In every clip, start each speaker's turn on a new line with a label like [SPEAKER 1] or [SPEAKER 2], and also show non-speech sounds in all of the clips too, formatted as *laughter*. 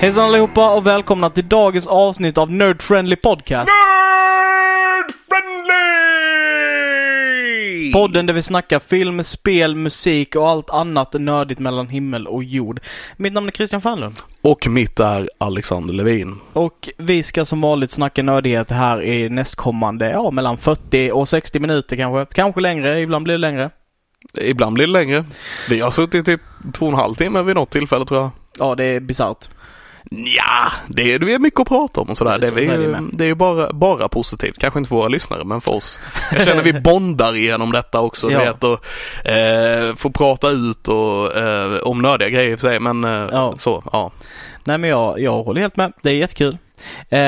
[SPEAKER 1] Hejsan allihopa och välkomna till dagens avsnitt av Nerd Friendly Podcast.
[SPEAKER 2] Nerd Friendly!
[SPEAKER 1] Podden där vi snackar film, spel, musik och allt annat nördigt mellan himmel och jord. Mitt namn är Christian Fernlund.
[SPEAKER 2] Och mitt är Alexander Levin.
[SPEAKER 1] Och vi ska som vanligt snacka nördighet här i nästkommande, ja mellan 40 och 60 minuter kanske. Kanske längre, ibland blir det längre.
[SPEAKER 2] Ibland blir det längre. Vi har suttit typ två och en halv timme vid något tillfälle tror jag.
[SPEAKER 1] Ja, det är bisarrt.
[SPEAKER 2] Ja, det är, det är mycket att prata om och sådär.
[SPEAKER 1] Det
[SPEAKER 2] Det
[SPEAKER 1] är
[SPEAKER 2] är,
[SPEAKER 1] så- så
[SPEAKER 2] vi,
[SPEAKER 1] är det med.
[SPEAKER 2] det är ju bara, bara positivt. Kanske inte för våra lyssnare, men för oss. Jag
[SPEAKER 1] *laughs*
[SPEAKER 2] känner vi bondar igenom detta också.
[SPEAKER 1] Ja.
[SPEAKER 2] Du vet, och eh, får prata ut och, eh, om nördiga grejer i och för sig, men eh,
[SPEAKER 1] Ja.
[SPEAKER 2] så. Ja.
[SPEAKER 1] Nej men jag, jag håller helt med. Det är jättekul. Eh,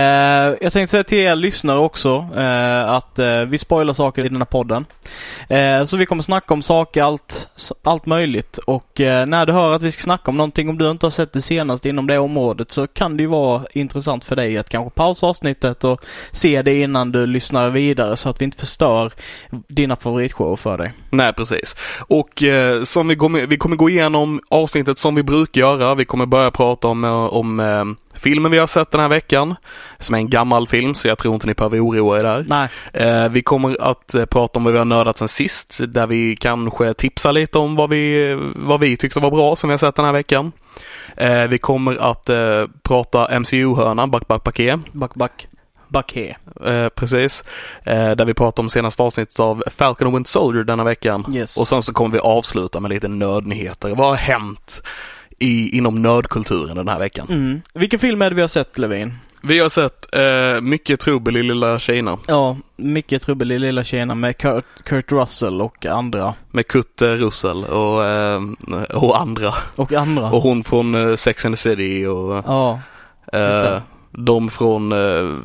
[SPEAKER 1] jag tänkte säga till er lyssnare också eh, att eh, vi spoilar saker i den här podden. Eh, så vi kommer snacka om saker, allt, allt möjligt. Och eh, när du hör att vi ska snacka om någonting, om du inte har sett det senaste inom det området så kan det ju vara intressant för dig att kanske pausa avsnittet och se det innan du lyssnar vidare så att vi inte förstör dina favoritshower för dig.
[SPEAKER 2] Nej, precis. Och eh, som vi, går, vi kommer gå igenom avsnittet som vi brukar göra. Vi kommer börja prata om, eh, om eh, filmen vi har sett den här veckan, som är en gammal film, så jag tror inte ni behöver oroa er där.
[SPEAKER 1] Nej,
[SPEAKER 2] Eh, vi kommer att eh, prata om vad vi har nördat sen sist, där vi kanske tipsar lite om vad vi, vad vi tyckte var bra som vi har sett den här veckan. Eh, vi kommer att eh, prata MCU-hörnan, back, back, back, eh,
[SPEAKER 1] back, back, back here.
[SPEAKER 2] precis. Eh, där vi pratar om senaste avsnittet av Falcon and Winter Soldier denna veckan.
[SPEAKER 1] Yes.
[SPEAKER 2] Och sen så kommer vi avsluta med lite nördnyheter. Vad har hänt i, inom nördkulturen den här veckan?
[SPEAKER 1] Mm. Vilken film är det vi har sett Levin?
[SPEAKER 2] Vi har sett eh, mycket trubbel i lilla Kina
[SPEAKER 1] Ja, mycket trubbel i lilla Kina med Kurt, Kurt Russell och andra.
[SPEAKER 2] med Kurt eh, Russell och, eh, och andra.
[SPEAKER 1] Och andra.
[SPEAKER 2] Och hon från eh, Sex and the City och
[SPEAKER 1] Ja, just
[SPEAKER 2] eh,
[SPEAKER 1] det.
[SPEAKER 2] de från eh,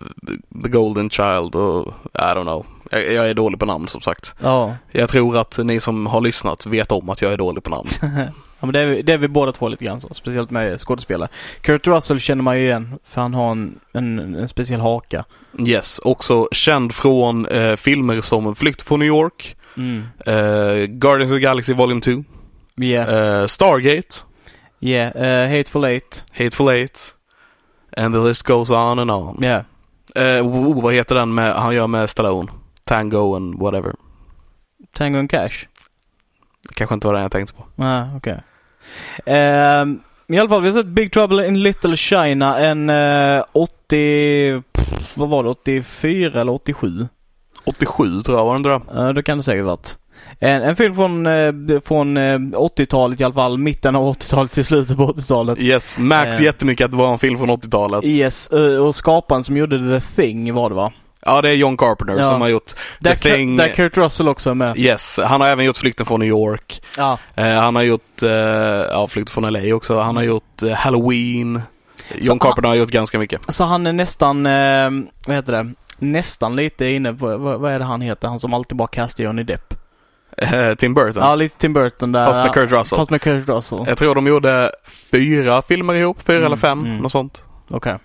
[SPEAKER 2] The Golden Child och I don't know. Jag, jag är dålig på namn som sagt.
[SPEAKER 1] ja.
[SPEAKER 2] Jag tror att ni som har lyssnat vet om att jag är dålig på *laughs* namn.
[SPEAKER 1] ja men det är, vi- det är vi båda två lite grann så. Speciellt med skådespelare. Kurt Russell känner man ju igen för han har en, en, en speciell haka.
[SPEAKER 2] Yes, också känd från eh, filmer som Flykt från New York,
[SPEAKER 1] Mm.
[SPEAKER 2] eh, Guardians of the Galaxy Volume 2,
[SPEAKER 1] Yeah,
[SPEAKER 2] eh, Stargate,
[SPEAKER 1] yeah. eh, Hateful Eight.
[SPEAKER 2] Hateful Eight, and the list goes on and on.
[SPEAKER 1] Yeah.
[SPEAKER 2] Eh, oh, vad heter den med, han gör med Stallone? Tango and whatever.
[SPEAKER 1] Tango and Cash.
[SPEAKER 2] Kanske inte var den jag tänkte på.
[SPEAKER 1] Nej, okej. Ehm, I alla fall, vi har sett Big Trouble in Little China en eh, 80... Pff, vad var det? 84 eller 87?
[SPEAKER 2] 87 tror jag, var den där?
[SPEAKER 1] Ja, det kan det säkert varit. En, en film från, eh, från eh, 80-talet i alla fall, mitten av 80-talet till slutet på 80-talet.
[SPEAKER 2] Yes, märks
[SPEAKER 1] Eh.
[SPEAKER 2] jättemycket att det var en film från 80-talet.
[SPEAKER 1] Yes, eh, och skaparen som gjorde The Thing var det va?
[SPEAKER 2] Ja, det är John Carpenter
[SPEAKER 1] Ja.
[SPEAKER 2] som har gjort
[SPEAKER 1] Där,
[SPEAKER 2] The Thing.
[SPEAKER 1] Kurt, där Kurt Russell också är med.
[SPEAKER 2] Yes, han har även gjort Flykten från New York.
[SPEAKER 1] Ja,
[SPEAKER 2] Eh, han har gjort, eh, ja, Flykten från LA också. Han har
[SPEAKER 1] Mm.
[SPEAKER 2] gjort eh, Halloween. John
[SPEAKER 1] han-
[SPEAKER 2] Carpenter har gjort ganska mycket.
[SPEAKER 1] så han är nästan, eh, vad heter det? Nästan lite inne på, vad, vad är det han heter? Han som alltid bara castar Johnny Depp.
[SPEAKER 2] Eh, Tim Burton.
[SPEAKER 1] Ja, eh, lite Tim Burton där.
[SPEAKER 2] Fast med Kurt Russell.
[SPEAKER 1] Fast med Kurt Russell. Okej.
[SPEAKER 2] Jag tror de gjorde fyra filmer ihop, fyra eller fem,
[SPEAKER 1] mm.
[SPEAKER 2] något sånt. Ja.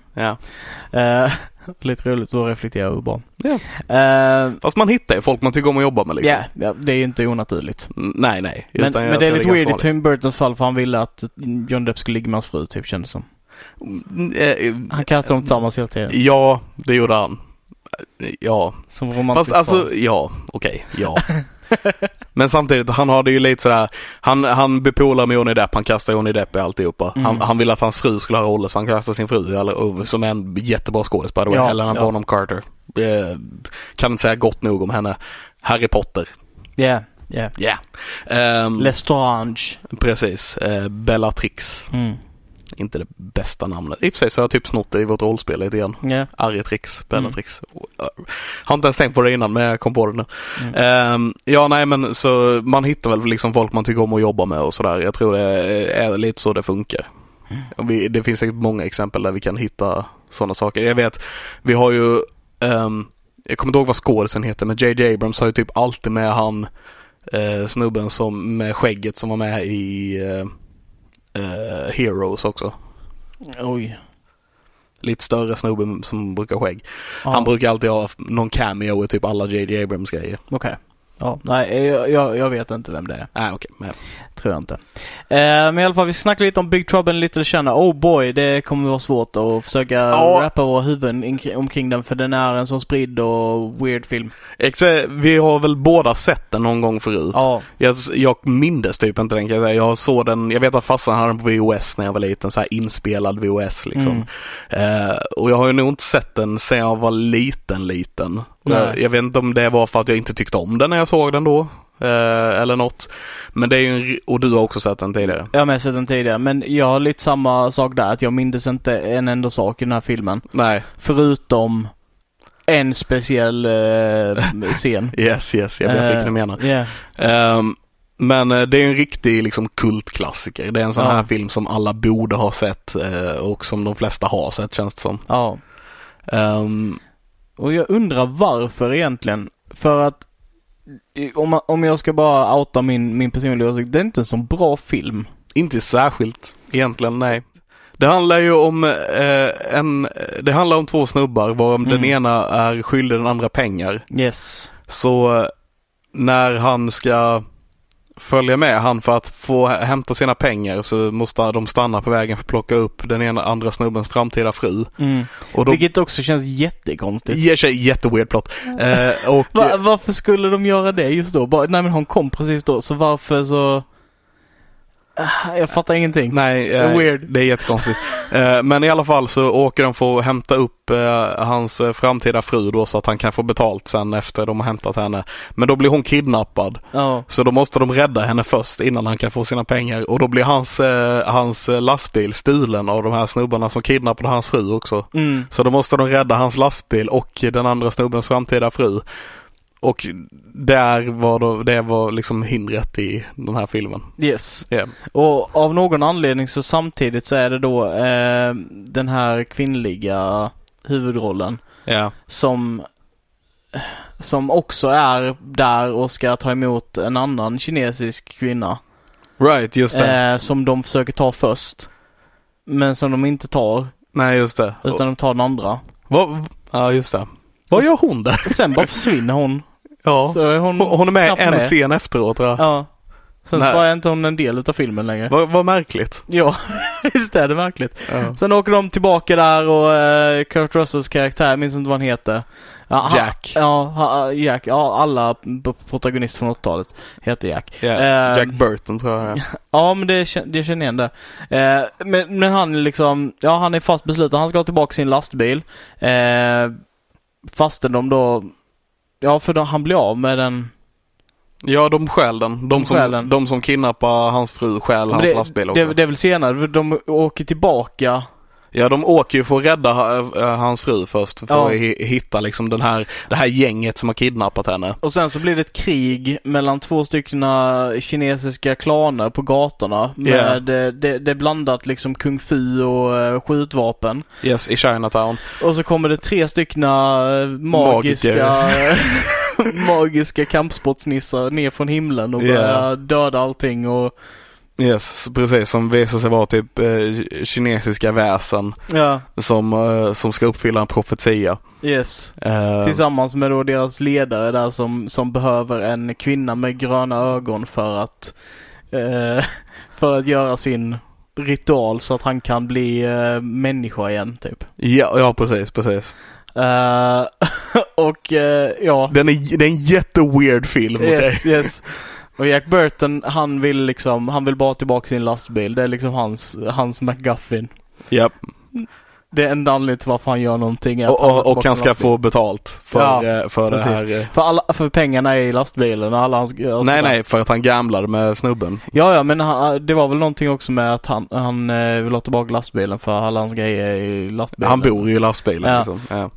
[SPEAKER 1] Eh, *laughs* lite roligt att reflektera över barn.
[SPEAKER 2] Ja.
[SPEAKER 1] Eh,
[SPEAKER 2] Fast man hittar ju folk man tycker om att jobba med liksom.
[SPEAKER 1] ja, ja, det är ju inte onaturligt.
[SPEAKER 2] Mm, Nej, nej.
[SPEAKER 1] Men,
[SPEAKER 2] Utan jag
[SPEAKER 1] men det är
[SPEAKER 2] tror
[SPEAKER 1] lite weird typ. i
[SPEAKER 2] ganska vanligt.
[SPEAKER 1] Tim Burtons fall för han ville att John Depp skulle ligga med hans fru typ kändes som.
[SPEAKER 2] Mm, eh,
[SPEAKER 1] Han kastade dem tillsammans hela tiden.
[SPEAKER 2] Ja, det gjorde han. Eh, Ja.
[SPEAKER 1] Som romantiskt
[SPEAKER 2] Fast alltså, ja, okej, ja. *laughs* Men samtidigt, han hade ju lite sådär, han, han bepolar med Johnny Depp, han kastar Johnny Depp i alltihopa. Han,
[SPEAKER 1] Mm.
[SPEAKER 2] han vill att hans fru skulle ha roller så han kastar sin fru, eller, och- som är en jättebra skådis by the way,
[SPEAKER 1] Ja,
[SPEAKER 2] Helena
[SPEAKER 1] ja.
[SPEAKER 2] Bonham Carter. Eh, kan inte säga gott nog om henne. Harry Potter,
[SPEAKER 1] Ja, yeah, yeah.
[SPEAKER 2] yeah. Ehm,
[SPEAKER 1] Lestrange.
[SPEAKER 2] precis, eh, Bellatrix.
[SPEAKER 1] Mm.
[SPEAKER 2] Inte det bästa namnet. I och för sig så har jag typ snott det i vårt rollspel lite grann.
[SPEAKER 1] Ja.
[SPEAKER 2] Argetrix, Bellatrix. Jag har inte ens tänkt på det innan men jag kom på det nu. Ehm, ja nej men så man hittar väl liksom folk man tycker om att jobba med och sådär. Jag tror det är lite så det funkar. Och Vi, det finns säkert många exempel där vi kan hitta sådana saker. Jag vet, vi har ju, ehm, jag kommer inte ihåg vad skådisen heter men JJ Abrams har ju typ alltid med han eh, snubben som med skägget som var med i eh, eh, Heroes också.
[SPEAKER 1] Mm. Oj.
[SPEAKER 2] Lite större snubben som brukar ha skägg.
[SPEAKER 1] Ja,
[SPEAKER 2] Han brukar alltid ha någon cameo i typ alla JJ Abrams grejer.
[SPEAKER 1] Okej. Ja, nej, jag, jag, jag vet inte vem det är.
[SPEAKER 2] Nej, Ah, okej. men-
[SPEAKER 1] Tror jag inte. Eh, men i alla fall, vi snackade lite om Big Trouble in Little China. Oh boy, det kommer vara svårt att försöka
[SPEAKER 2] Ja.
[SPEAKER 1] rappa våra huvuden in- omkring den för den är en så spridd och weird film.
[SPEAKER 2] Exa- eh, Vi har väl båda sett den någon gång förut.
[SPEAKER 1] Ja,
[SPEAKER 2] Jag, jag mindes typ inte den kan jag säga. Jag såg den, jag vet att farsan hade den på VOS när jag var liten, så här inspelad VOS liksom.
[SPEAKER 1] Mm.
[SPEAKER 2] Eh, och jag har ju nog inte sett den sedan jag var liten, liten. Och
[SPEAKER 1] Nej.
[SPEAKER 2] Jag, jag vet inte om det var för att jag inte tyckte om den när jag såg den då. eh, eller något. Men det är ju en, ri- och du har också sett den tidigare.
[SPEAKER 1] jag har med sett den tidigare men jag har lite samma sak där. Att jag mindes inte en enda sak i den här filmen.
[SPEAKER 2] Nej,
[SPEAKER 1] Förutom en speciell eh, scen.
[SPEAKER 2] yes, yes, *laughs* jag vet
[SPEAKER 1] Eh,
[SPEAKER 2] vilken du menar.
[SPEAKER 1] yeah.
[SPEAKER 2] Ehm, men eh, det är en riktig liksom, kultklassiker. Det är en sån
[SPEAKER 1] Ja.
[SPEAKER 2] här film som alla borde ha sett eh, och som de flesta har sett känns det som.
[SPEAKER 1] Ja.
[SPEAKER 2] Ehm,
[SPEAKER 1] Och jag undrar varför egentligen. För att i- om, man- om jag ska bara outa min, min personliga åsikt, det är inte en sån bra film.
[SPEAKER 2] inte särskilt egentligen, nej. Det handlar ju om eh, en, det handlar om två snubbar varav
[SPEAKER 1] Mm.
[SPEAKER 2] den ena är skyldig den andra pengar.
[SPEAKER 1] Yes.
[SPEAKER 2] Så eh, när han ska följa med han för att få hä- hämta sina pengar så måste de stanna på vägen för att plocka upp den ena andra snubbens framtida fru.
[SPEAKER 1] Mm.
[SPEAKER 2] Och de
[SPEAKER 1] Vilket också känns jättekonstigt.
[SPEAKER 2] Ger sig jätteweird plot. Eh, och,
[SPEAKER 1] Va, varför skulle de göra det just då? Bara, nej men hon kom precis då, så varför så... Ah, Jag fattar ingenting.
[SPEAKER 2] nej, eh,
[SPEAKER 1] Weird.
[SPEAKER 2] det är jättekonstigt. Eh, men i alla fall så åker de för att hämta upp eh, hans eh, framtida fru då så att han kan få betalt sen efter de har hämtat henne. Men då blir hon kidnappad.
[SPEAKER 1] Ja.
[SPEAKER 2] Så då måste de rädda henne först innan han kan få sina pengar. Och då blir hans, eh, hans eh, lastbil stulen av de här snubbarna som kidnappade hans fru också.
[SPEAKER 1] Mm.
[SPEAKER 2] Så då måste de rädda hans lastbil och den andra snubbens framtida fru. Och där var då, det var liksom hindret i den här filmen.
[SPEAKER 1] Yes.
[SPEAKER 2] Ja.
[SPEAKER 1] Och av någon anledning så samtidigt så är det då eh, den här kvinnliga huvudrollen
[SPEAKER 2] Ja.
[SPEAKER 1] som som också är där och ska ta emot en annan kinesisk kvinna.
[SPEAKER 2] Right, just det.
[SPEAKER 1] Eh, som de försöker ta först. Men som de inte tar,
[SPEAKER 2] Nej, just det.
[SPEAKER 1] utan de tar den andra.
[SPEAKER 2] Vad- ja, just det. Vad gör
[SPEAKER 1] *laughs*
[SPEAKER 2] hon där?
[SPEAKER 1] Sen bara försvinner hon.
[SPEAKER 2] *laughs* Ja.
[SPEAKER 1] Så är hon...
[SPEAKER 2] Hon hon är med
[SPEAKER 1] knappt
[SPEAKER 2] en
[SPEAKER 1] med.
[SPEAKER 2] scen efteråt. Ja.
[SPEAKER 1] Ja. Sen så
[SPEAKER 2] Nej.
[SPEAKER 1] var inte hon en del utav filmen längre.
[SPEAKER 2] Vad, vad märkligt.
[SPEAKER 1] Ja, *laughs* visst är det märkligt.
[SPEAKER 2] Ja.
[SPEAKER 1] Sen åker de tillbaka där och eh, Kurt Russells karaktär, jag minns inte vad han heter. Ja, han-
[SPEAKER 2] Jack.
[SPEAKER 1] Ja, ha- Jack. Ja, alla p- protagonister från 80-talet heter Jack.
[SPEAKER 2] Ja,
[SPEAKER 1] Eh,
[SPEAKER 2] Jack Burton tror jag det
[SPEAKER 1] *laughs*
[SPEAKER 2] är.
[SPEAKER 1] Ja, men det, kän- det känner jag igen det. Eh, men, men han är liksom, ja han är fast besluten. Han ska ha tillbaka sin lastbil. Eh, fastän de då, ja för då, han blir av med den.
[SPEAKER 2] Ja, de stjäl den. De,
[SPEAKER 1] De stjäl
[SPEAKER 2] som,
[SPEAKER 1] den.
[SPEAKER 2] de som kidnappar hans fru stjäl
[SPEAKER 1] Men
[SPEAKER 2] hans
[SPEAKER 1] det,
[SPEAKER 2] lastbil också.
[SPEAKER 1] det, det är väl senare, för de åker tillbaka.
[SPEAKER 2] Ja, de åker ju för att rädda ha- eh, hans fru först. För
[SPEAKER 1] Ja.
[SPEAKER 2] att hi- hitta liksom den här, det här gänget som har kidnappat henne.
[SPEAKER 1] Och sen så blir det ett krig mellan två stycken eh, kinesiska klaner på gatorna. Med,
[SPEAKER 2] Ja.
[SPEAKER 1] eh, det, det är blandat liksom kung fu och eh, skjutvapen.
[SPEAKER 2] Yes, i Chinatown.
[SPEAKER 1] Och så kommer det tre stycken eh, magiska *laughs* magiska kampsportsnissar ner från himlen och
[SPEAKER 2] Ja.
[SPEAKER 1] börjar döda allting och
[SPEAKER 2] Yes, precis. Som visar sig vara typ eh, kinesiska väsen
[SPEAKER 1] ja,
[SPEAKER 2] som, eh, som ska uppfylla en profetia.
[SPEAKER 1] yes.
[SPEAKER 2] Eh,
[SPEAKER 1] Tillsammans med då deras ledare där som, som behöver en kvinna med gröna ögon för att eh, *laughs* för att göra sin ritual så att han kan bli eh, människa igen typ.
[SPEAKER 2] ja, ja, precis, precis.
[SPEAKER 1] Eh, *laughs* och eh, ja,
[SPEAKER 2] Den är, det är en jätteweird film. okej?
[SPEAKER 1] Yes, yes. Och Jack Burton, han vill liksom, han vill bara ha tillbaka sin lastbil. Det är liksom hans, hans McGuffin.
[SPEAKER 2] Japp.
[SPEAKER 1] det är enda anledningen till varför han gör någonting. är att
[SPEAKER 2] Och, och,
[SPEAKER 1] har
[SPEAKER 2] och han ska
[SPEAKER 1] tillbaka
[SPEAKER 2] få betalt för,
[SPEAKER 1] Ja,
[SPEAKER 2] eh, för det
[SPEAKER 1] precis.
[SPEAKER 2] här. eh,
[SPEAKER 1] För, alla, för pengarna är i lastbilen och alla hans alltså,
[SPEAKER 2] nej, nej, för att han gamblade med snubben.
[SPEAKER 1] Ja, ja, men han, ah, det var väl någonting också med att han, han eh, vill ha tillbaka lastbilen för alla hans grejer är i lastbilen.
[SPEAKER 2] Han bor ju i lastbilen
[SPEAKER 1] Ja.
[SPEAKER 2] liksom. Ja.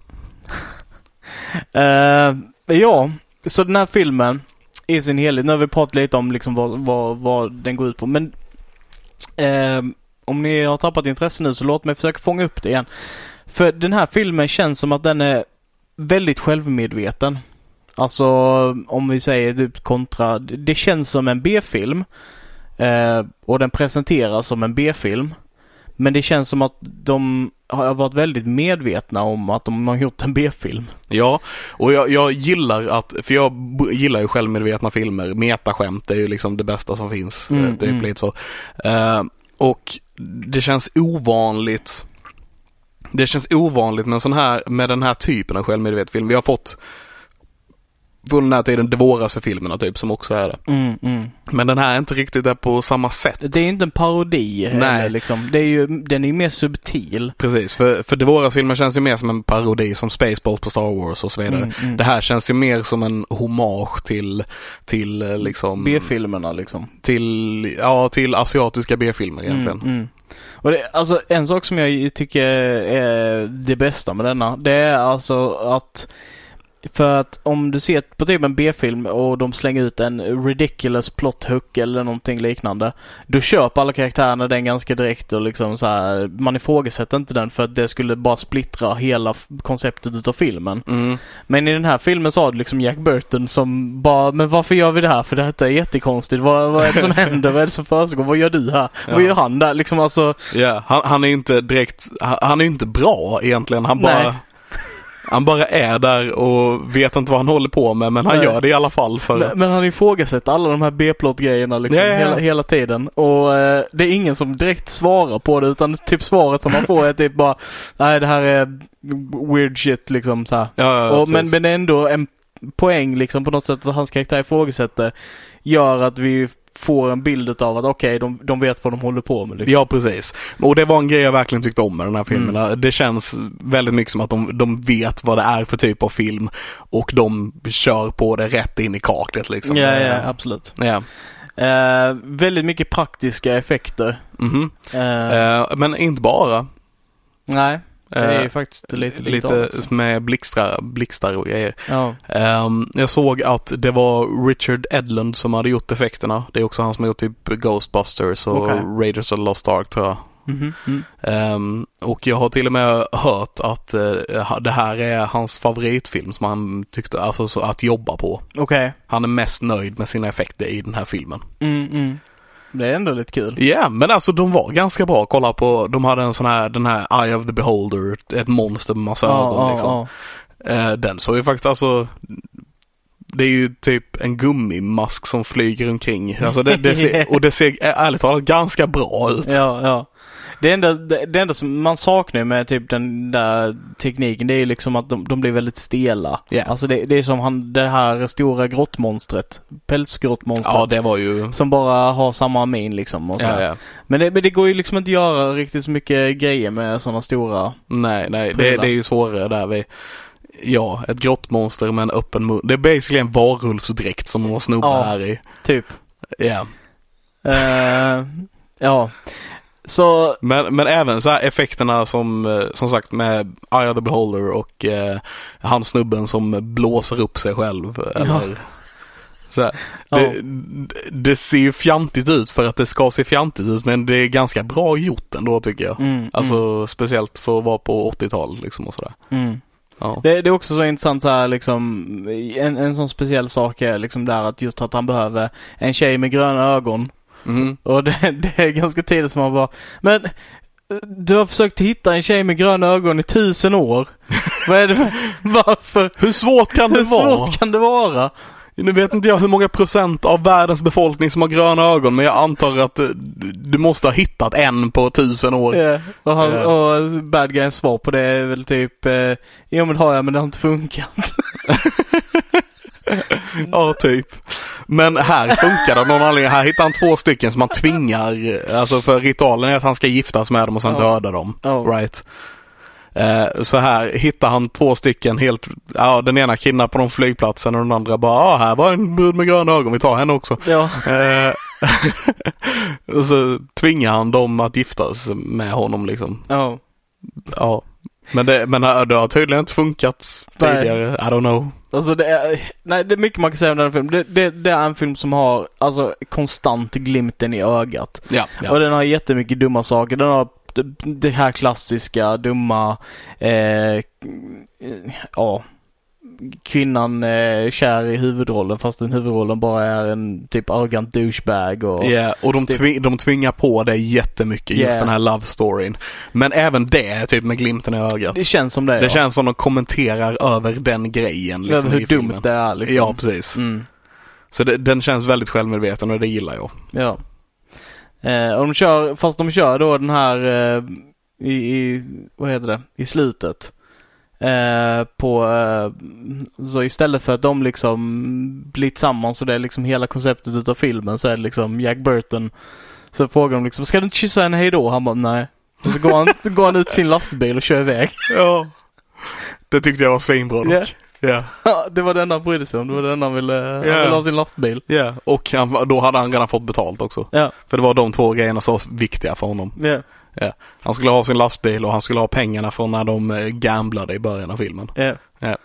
[SPEAKER 1] Eh, ja, så den här filmen i sin helhet. Nu har vi pratat lite om liksom vad, vad, vad den går ut på. Men eh, om ni har tappat intresse nu så låt mig försöka fånga upp det igen. För den här filmen känns som att den är väldigt självmedveten. Alltså om vi säger typ kontra. Det känns som en B-film. Eh, och den presenteras som en B-film. Men det känns som att de har varit väldigt medvetna om att de har gjort en B-film.
[SPEAKER 2] Ja, och jag, jag gillar att, för jag b- gillar ju självmedvetna filmer. Metaskämt är ju liksom det bästa som finns.
[SPEAKER 1] Mm,
[SPEAKER 2] eh, typ
[SPEAKER 1] mm.
[SPEAKER 2] lite så. Eh, och det känns ovanligt. Det känns ovanligt med, en sån här, med den här typen av självmedveten film. Vi har fått från den här tiden, det våras för filmerna typ, som också är det.
[SPEAKER 1] Mm, mm.
[SPEAKER 2] Men den här är inte riktigt där på samma sätt.
[SPEAKER 1] Det är inte en parodi
[SPEAKER 2] Nej.
[SPEAKER 1] heller, liksom. Det är ju, den är ju mer subtil.
[SPEAKER 2] Precis, för, för det våras filmer känns ju mer som en parodi som Spaceballs på Star Wars och så vidare.
[SPEAKER 1] Mm, mm.
[SPEAKER 2] Det här känns ju mer som en hommage till, till eh, liksom...
[SPEAKER 1] B-filmerna liksom.
[SPEAKER 2] till, ja, till asiatiska B-filmer egentligen.
[SPEAKER 1] Mm, mm. Och det, alltså en sak som jag tycker är det bästa med denna. Det är alltså att för att om du ser på typ en B-film och de slänger ut en ridiculous plot hook eller någonting liknande. Då köper alla karaktärerna den ganska direkt och liksom så här, man ifrågasätter inte den för att det skulle bara splittra hela f- konceptet utav filmen.
[SPEAKER 2] Mm.
[SPEAKER 1] Men i den här filmen så har du liksom Jack Burton som bara Men varför gör vi det här? För detta är jättekonstigt. Vad, vad är det som händer? Vad är det som försiggår? Vad gör du här? Vad
[SPEAKER 2] Ja.
[SPEAKER 1] gör han där? Liksom alltså
[SPEAKER 2] Ja, han, han är ju inte direkt, han, han är ju inte bra egentligen. Han
[SPEAKER 1] Nej.
[SPEAKER 2] bara, *laughs* han bara är där och vet inte vad han håller på med men han
[SPEAKER 1] Nej.
[SPEAKER 2] gör det i alla fall för att
[SPEAKER 1] Men, men han ifrågasätter alla de här B-plot grejerna liksom
[SPEAKER 2] Ja, ja, ja.
[SPEAKER 1] Hela, hela tiden. Och eh, det är ingen som direkt svarar på det utan typ svaret som man får är typ bara Nej det här är weird shit liksom så här.
[SPEAKER 2] Ja, ja,
[SPEAKER 1] och, men,
[SPEAKER 2] precis.
[SPEAKER 1] men det är ändå en poäng liksom på något sätt att hans karaktär ifrågasätter gör att vi får en bild utav att okej de, de vet vad de håller på med. Liksom.
[SPEAKER 2] Ja, precis. Och det var en grej jag verkligen tyckte om med den här
[SPEAKER 1] Mm.
[SPEAKER 2] filmen. Det känns väldigt mycket som att de, de vet vad det är för typ av film och de kör på det rätt in i kaklet liksom.
[SPEAKER 1] Ja, ja, absolut.
[SPEAKER 2] Ja.
[SPEAKER 1] Eh, väldigt mycket praktiska effekter.
[SPEAKER 2] Mhm.
[SPEAKER 1] Eh,
[SPEAKER 2] Eh, men inte bara.
[SPEAKER 1] nej, det är ju
[SPEAKER 2] Eh,
[SPEAKER 1] faktiskt lite
[SPEAKER 2] lite med blixtar, blixtar och grejer.
[SPEAKER 1] Ja.
[SPEAKER 2] Ehm, jag såg att det var Richard Edlund som hade gjort effekterna. Det är också han som har gjort typ Ghostbusters och
[SPEAKER 1] Okej.
[SPEAKER 2] Raiders of the Lost Ark tror jag.
[SPEAKER 1] Mhm. Mm.
[SPEAKER 2] Ehm, och jag har till och med hört att eh, det här är hans favoritfilm som han tyckte, alltså så att jobba på.
[SPEAKER 1] Okej.
[SPEAKER 2] Han är mest nöjd med sina effekter i den här filmen.
[SPEAKER 1] Mm, mm. Det är ändå lite kul.
[SPEAKER 2] Ja, men alltså de var ganska bra. Kolla på, de hade en sån här, den här Eye of the Beholder, ett monster med massa ögon liksom. Eh, den såg ju faktiskt alltså det är ju typ en gummimask som flyger omkring. Alltså det, det ser, och det ser ä- ärligt talat ganska bra ut.
[SPEAKER 1] Ja, ja. Det enda, det, det enda som man saknar med typ den där tekniken det är ju liksom att de, de blir väldigt stela.
[SPEAKER 2] Ja.
[SPEAKER 1] Alltså det, det är som han, det här stora grottmonstret. Pälsgrottmonstret.
[SPEAKER 2] Ja, det var ju...
[SPEAKER 1] Som bara har samma min liksom. Och så här.
[SPEAKER 2] Ja, ja.
[SPEAKER 1] Men det, men det går ju liksom inte att göra riktigt så mycket grejer med sådana stora.
[SPEAKER 2] Nej, nej, det,
[SPEAKER 1] Prylar.
[SPEAKER 2] det är ju svårare där vi... Ja, ett grottmonster med en öppen mun. Det är basically en varulvsdräkt som några snubbar
[SPEAKER 1] Ja.
[SPEAKER 2] här i. *laughs*
[SPEAKER 1] Typ.
[SPEAKER 2] Ja.
[SPEAKER 1] Eh, ja. Så,
[SPEAKER 2] Men, men även så här effekterna som, eh, som sagt med Eye of the Beholder och eh, han snubben som blåser upp sig själv. Eller, så här.
[SPEAKER 1] ja.
[SPEAKER 2] Det, d- det ser ju fjantigt ut för att det ska se fjantigt ut men det är ganska bra gjort ändå tycker jag.
[SPEAKER 1] Mm,
[SPEAKER 2] Alltså speciellt för att vara på 80-tal liksom och sådär.
[SPEAKER 1] mm, mm.
[SPEAKER 2] Ja.
[SPEAKER 1] Det, det är också så intressant så här liksom, en, en sån speciell sak är liksom där att just att han behöver en tjej med gröna ögon.
[SPEAKER 2] Mhm.
[SPEAKER 1] Och det, *laughs* det är ganska tidigt som man bara, men eh, du har försökt hitta en tjej med gröna ögon i tusen
[SPEAKER 2] *laughs*
[SPEAKER 1] år. Vad är det, varför?
[SPEAKER 2] Hur svårt kan det
[SPEAKER 1] Hur
[SPEAKER 2] vara?
[SPEAKER 1] svårt kan det vara?
[SPEAKER 2] Nu vet inte jag hur många procent av världens befolkning som har gröna ögon men jag antar att eh, d- du måste ha hittat en på tusen år.
[SPEAKER 1] Ja, och, han,
[SPEAKER 2] Ja.
[SPEAKER 1] och bad guys svar på det är väl typ eh, Jo men det har jag men det har inte
[SPEAKER 2] *laughs*
[SPEAKER 1] funkat.
[SPEAKER 2] Ja, typ. Men här funkar det av någon anledning. Här hittar han två stycken som han tvingar, eh, alltså för ritualen är att han ska giftas med dem och sen
[SPEAKER 1] Ja.
[SPEAKER 2] döda dem.
[SPEAKER 1] Ja.
[SPEAKER 2] Right. Eh, så här hittar han två stycken helt, ja den ena kidnappar de flygplatsen och den andra bara, ah, här var en brud med gröna ögon, vi tar henne också.
[SPEAKER 1] Ja.
[SPEAKER 2] Eh, *laughs* och så tvingar han dem att giftas med honom liksom.
[SPEAKER 1] Ja.
[SPEAKER 2] Ja. Men det, men det har tydligen inte funkat
[SPEAKER 1] Nej.
[SPEAKER 2] tidigare. I don't know.
[SPEAKER 1] Alltså det är, nej det är mycket man kan säga om den här filmen. Det, det, det är en film som har alltså konstant glimten i ögat.
[SPEAKER 2] Ja,
[SPEAKER 1] Och den har jättemycket dumma saker. Den har det- det här klassiska dumma, eh, ja, kvinnan eh, kär i huvudrollen fast den huvudrollen bara är en typ arrogant douchebag och
[SPEAKER 2] Ja, och de,
[SPEAKER 1] Det-
[SPEAKER 2] tving, de tvingar på det jättemycket,
[SPEAKER 1] Ja.
[SPEAKER 2] just den här love storyn. Men även det är typ med glimten i ögat.
[SPEAKER 1] det känns som det.
[SPEAKER 2] Det känns som de kommenterar över den grejen.
[SPEAKER 1] ja.
[SPEAKER 2] Liksom,
[SPEAKER 1] Över hur
[SPEAKER 2] i filmen.
[SPEAKER 1] dumt det är liksom.
[SPEAKER 2] Ja, precis.
[SPEAKER 1] Mm.
[SPEAKER 2] Så det, den känns väldigt självmedveten och det gillar jag.
[SPEAKER 1] Ja. Eh, och de kör, fast de kör då den här eh, i, i, vad heter det, i slutet. Eh, på, eh, så istället för att de liksom blir tillsammans och det är liksom hela konceptet utav filmen så är det liksom Jack Burton. Så frågar de liksom, ska du inte kyssa henne hejdå? Han bara, nej. Och så går han, så går han ut till sin lastbil och kör iväg. *laughs*
[SPEAKER 2] Ja. Det tyckte jag var svinbra dock.
[SPEAKER 1] Ja.
[SPEAKER 2] Ja.
[SPEAKER 1] det var det enda han brydde sig om. Det var det enda han ville,
[SPEAKER 2] Ja.
[SPEAKER 1] han ville ha sin lastbil.
[SPEAKER 2] Ja, och han, då hade han redan fått betalt också.
[SPEAKER 1] Ja.
[SPEAKER 2] För det var de två grejerna som var viktiga för honom.
[SPEAKER 1] Ja.
[SPEAKER 2] Han skulle ha sin lastbil och han skulle ha pengarna från när de eh, gamblade i början av filmen.
[SPEAKER 1] Ja.
[SPEAKER 2] Ja.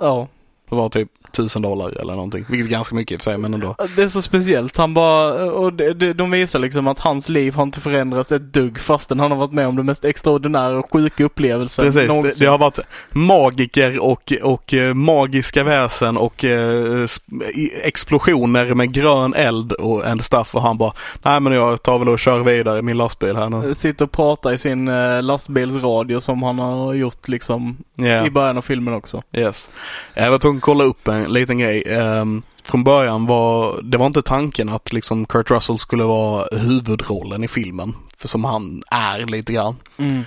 [SPEAKER 1] Ja.
[SPEAKER 2] Det var typ tusen dollar eller någonting, vilket är ganska mycket i och för sig men ändå.
[SPEAKER 1] Det är så speciellt. Han bara, och de, de, de visar liksom att hans liv har inte förändrats ett dugg fastän han har varit med om den mest extraordinära och sjuka upplevelsen
[SPEAKER 2] Precis, det, det
[SPEAKER 1] någonsin.
[SPEAKER 2] har varit magiker och, och eh, magiska väsen och eh, sp- i- explosioner med grön eld och en stuff och han bara Nej men jag tar väl och kör vidare i min lastbil här nu.
[SPEAKER 1] Eh, Sitter och pratar i sin eh, lastbilsradio som han har gjort liksom
[SPEAKER 2] Yeah.
[SPEAKER 1] i början av filmen också.
[SPEAKER 2] Yes. Jag var tvungen att kolla upp en liten grej. Ehm, från början var det var inte tanken att liksom Kurt Russell skulle vara huvudrollen i filmen, för som han är lite grann.
[SPEAKER 1] Mm.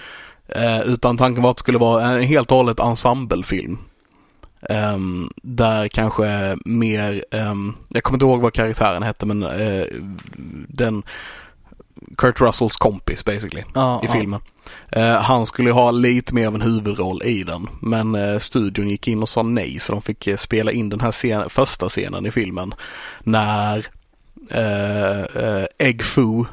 [SPEAKER 2] Eh, utan tanken var att det skulle vara en helt och hållet ensemblefilm. Ehm, där kanske mer, ehm, jag kommer inte ihåg vad karaktären hette men eh, den Kurt Russells kompis basically
[SPEAKER 1] Ja,
[SPEAKER 2] i
[SPEAKER 1] ja.
[SPEAKER 2] filmen. Eh, han skulle ha lite mer av en huvudroll i den men eh, studion gick in och sa nej så de fick eh, spela in den här scen- första scenen i filmen när eh, eh, Egg Foo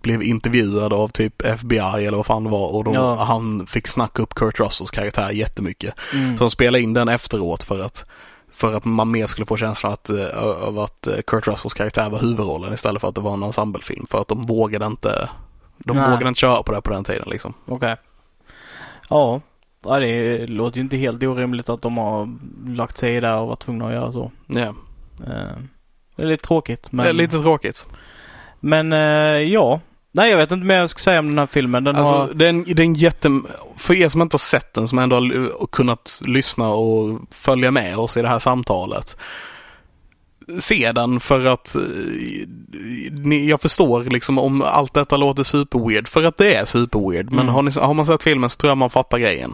[SPEAKER 2] blev intervjuad av typ FBI eller vad fan det var och då
[SPEAKER 1] Ja.
[SPEAKER 2] han fick snacka upp Kurt Russells karaktär jättemycket.
[SPEAKER 1] Mm.
[SPEAKER 2] Så de spelade in den efteråt för att för att man mer skulle få känslan att, eh, av att eh, Kurt Russells karaktär var huvudrollen istället för att det var en ensemblefilm. För att de vågade inte, de
[SPEAKER 1] Nej.
[SPEAKER 2] vågade inte köra på det på den tiden liksom.
[SPEAKER 1] Okej. Ja. ja, det låter ju inte helt orimligt att de har lagt sig i där och varit tvungna att göra så.
[SPEAKER 2] Ja,
[SPEAKER 1] Eh, det är lite tråkigt men...
[SPEAKER 2] Det är lite tråkigt.
[SPEAKER 1] Men eh, ja. Nej jag vet inte mer jag ska säga om den här filmen. Den
[SPEAKER 2] Alltså,
[SPEAKER 1] har...
[SPEAKER 2] det, är en, det är en jätte... För er som inte har sett den, som ändå har l- kunnat lyssna och följa med oss i det här samtalet. Se den för att eh, ni, jag förstår liksom om allt detta låter superweird, för att det är superweird. Men
[SPEAKER 1] Mm.
[SPEAKER 2] har, ni, har man sett filmen så tror jag man fattar grejen.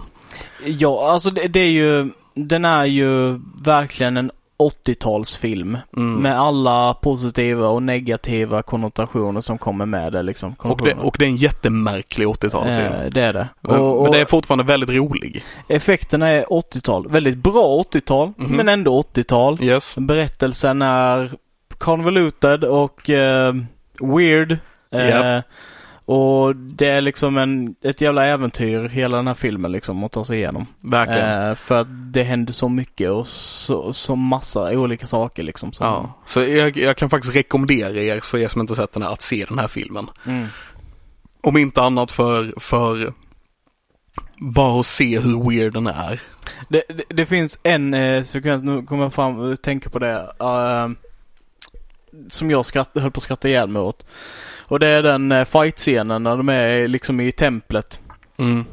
[SPEAKER 1] Ja, alltså det, det är ju, den är ju verkligen en 80-talsfilm.
[SPEAKER 2] Mm.
[SPEAKER 1] Med alla positiva och negativa konnotationer som kommer med det liksom.
[SPEAKER 2] Och det, och det är en jättemärklig 80-talsfilm.
[SPEAKER 1] eh, det är det.
[SPEAKER 2] men,
[SPEAKER 1] och, och
[SPEAKER 2] men det är fortfarande väldigt rolig.
[SPEAKER 1] Effekterna är 80-tal. Väldigt bra 80-tal,
[SPEAKER 2] Mhm.
[SPEAKER 1] men ändå 80-tal.
[SPEAKER 2] Yes.
[SPEAKER 1] Berättelsen är convoluted och eh, weird. Eh,
[SPEAKER 2] Japp.
[SPEAKER 1] Och det är liksom en, ett jävla äventyr hela den här filmen liksom att ta sig igenom.
[SPEAKER 2] Verkligen.
[SPEAKER 1] Eh, för att det händer så mycket och så, så massa olika saker liksom. Som,
[SPEAKER 2] Ja. Så jag, jag kan faktiskt rekommendera er, för er som inte sett den här, att se den här filmen.
[SPEAKER 1] Mm.
[SPEAKER 2] Om inte annat för, för bara att se hur weird den är.
[SPEAKER 1] Det, det, det finns en eh, sekvens, nu kommer jag fram och tänker på det. eh, som jag skratt, höll på att skratta ihjäl mig åt. Och det är den eh, fight-scenen när de är liksom i templet.
[SPEAKER 2] Mm.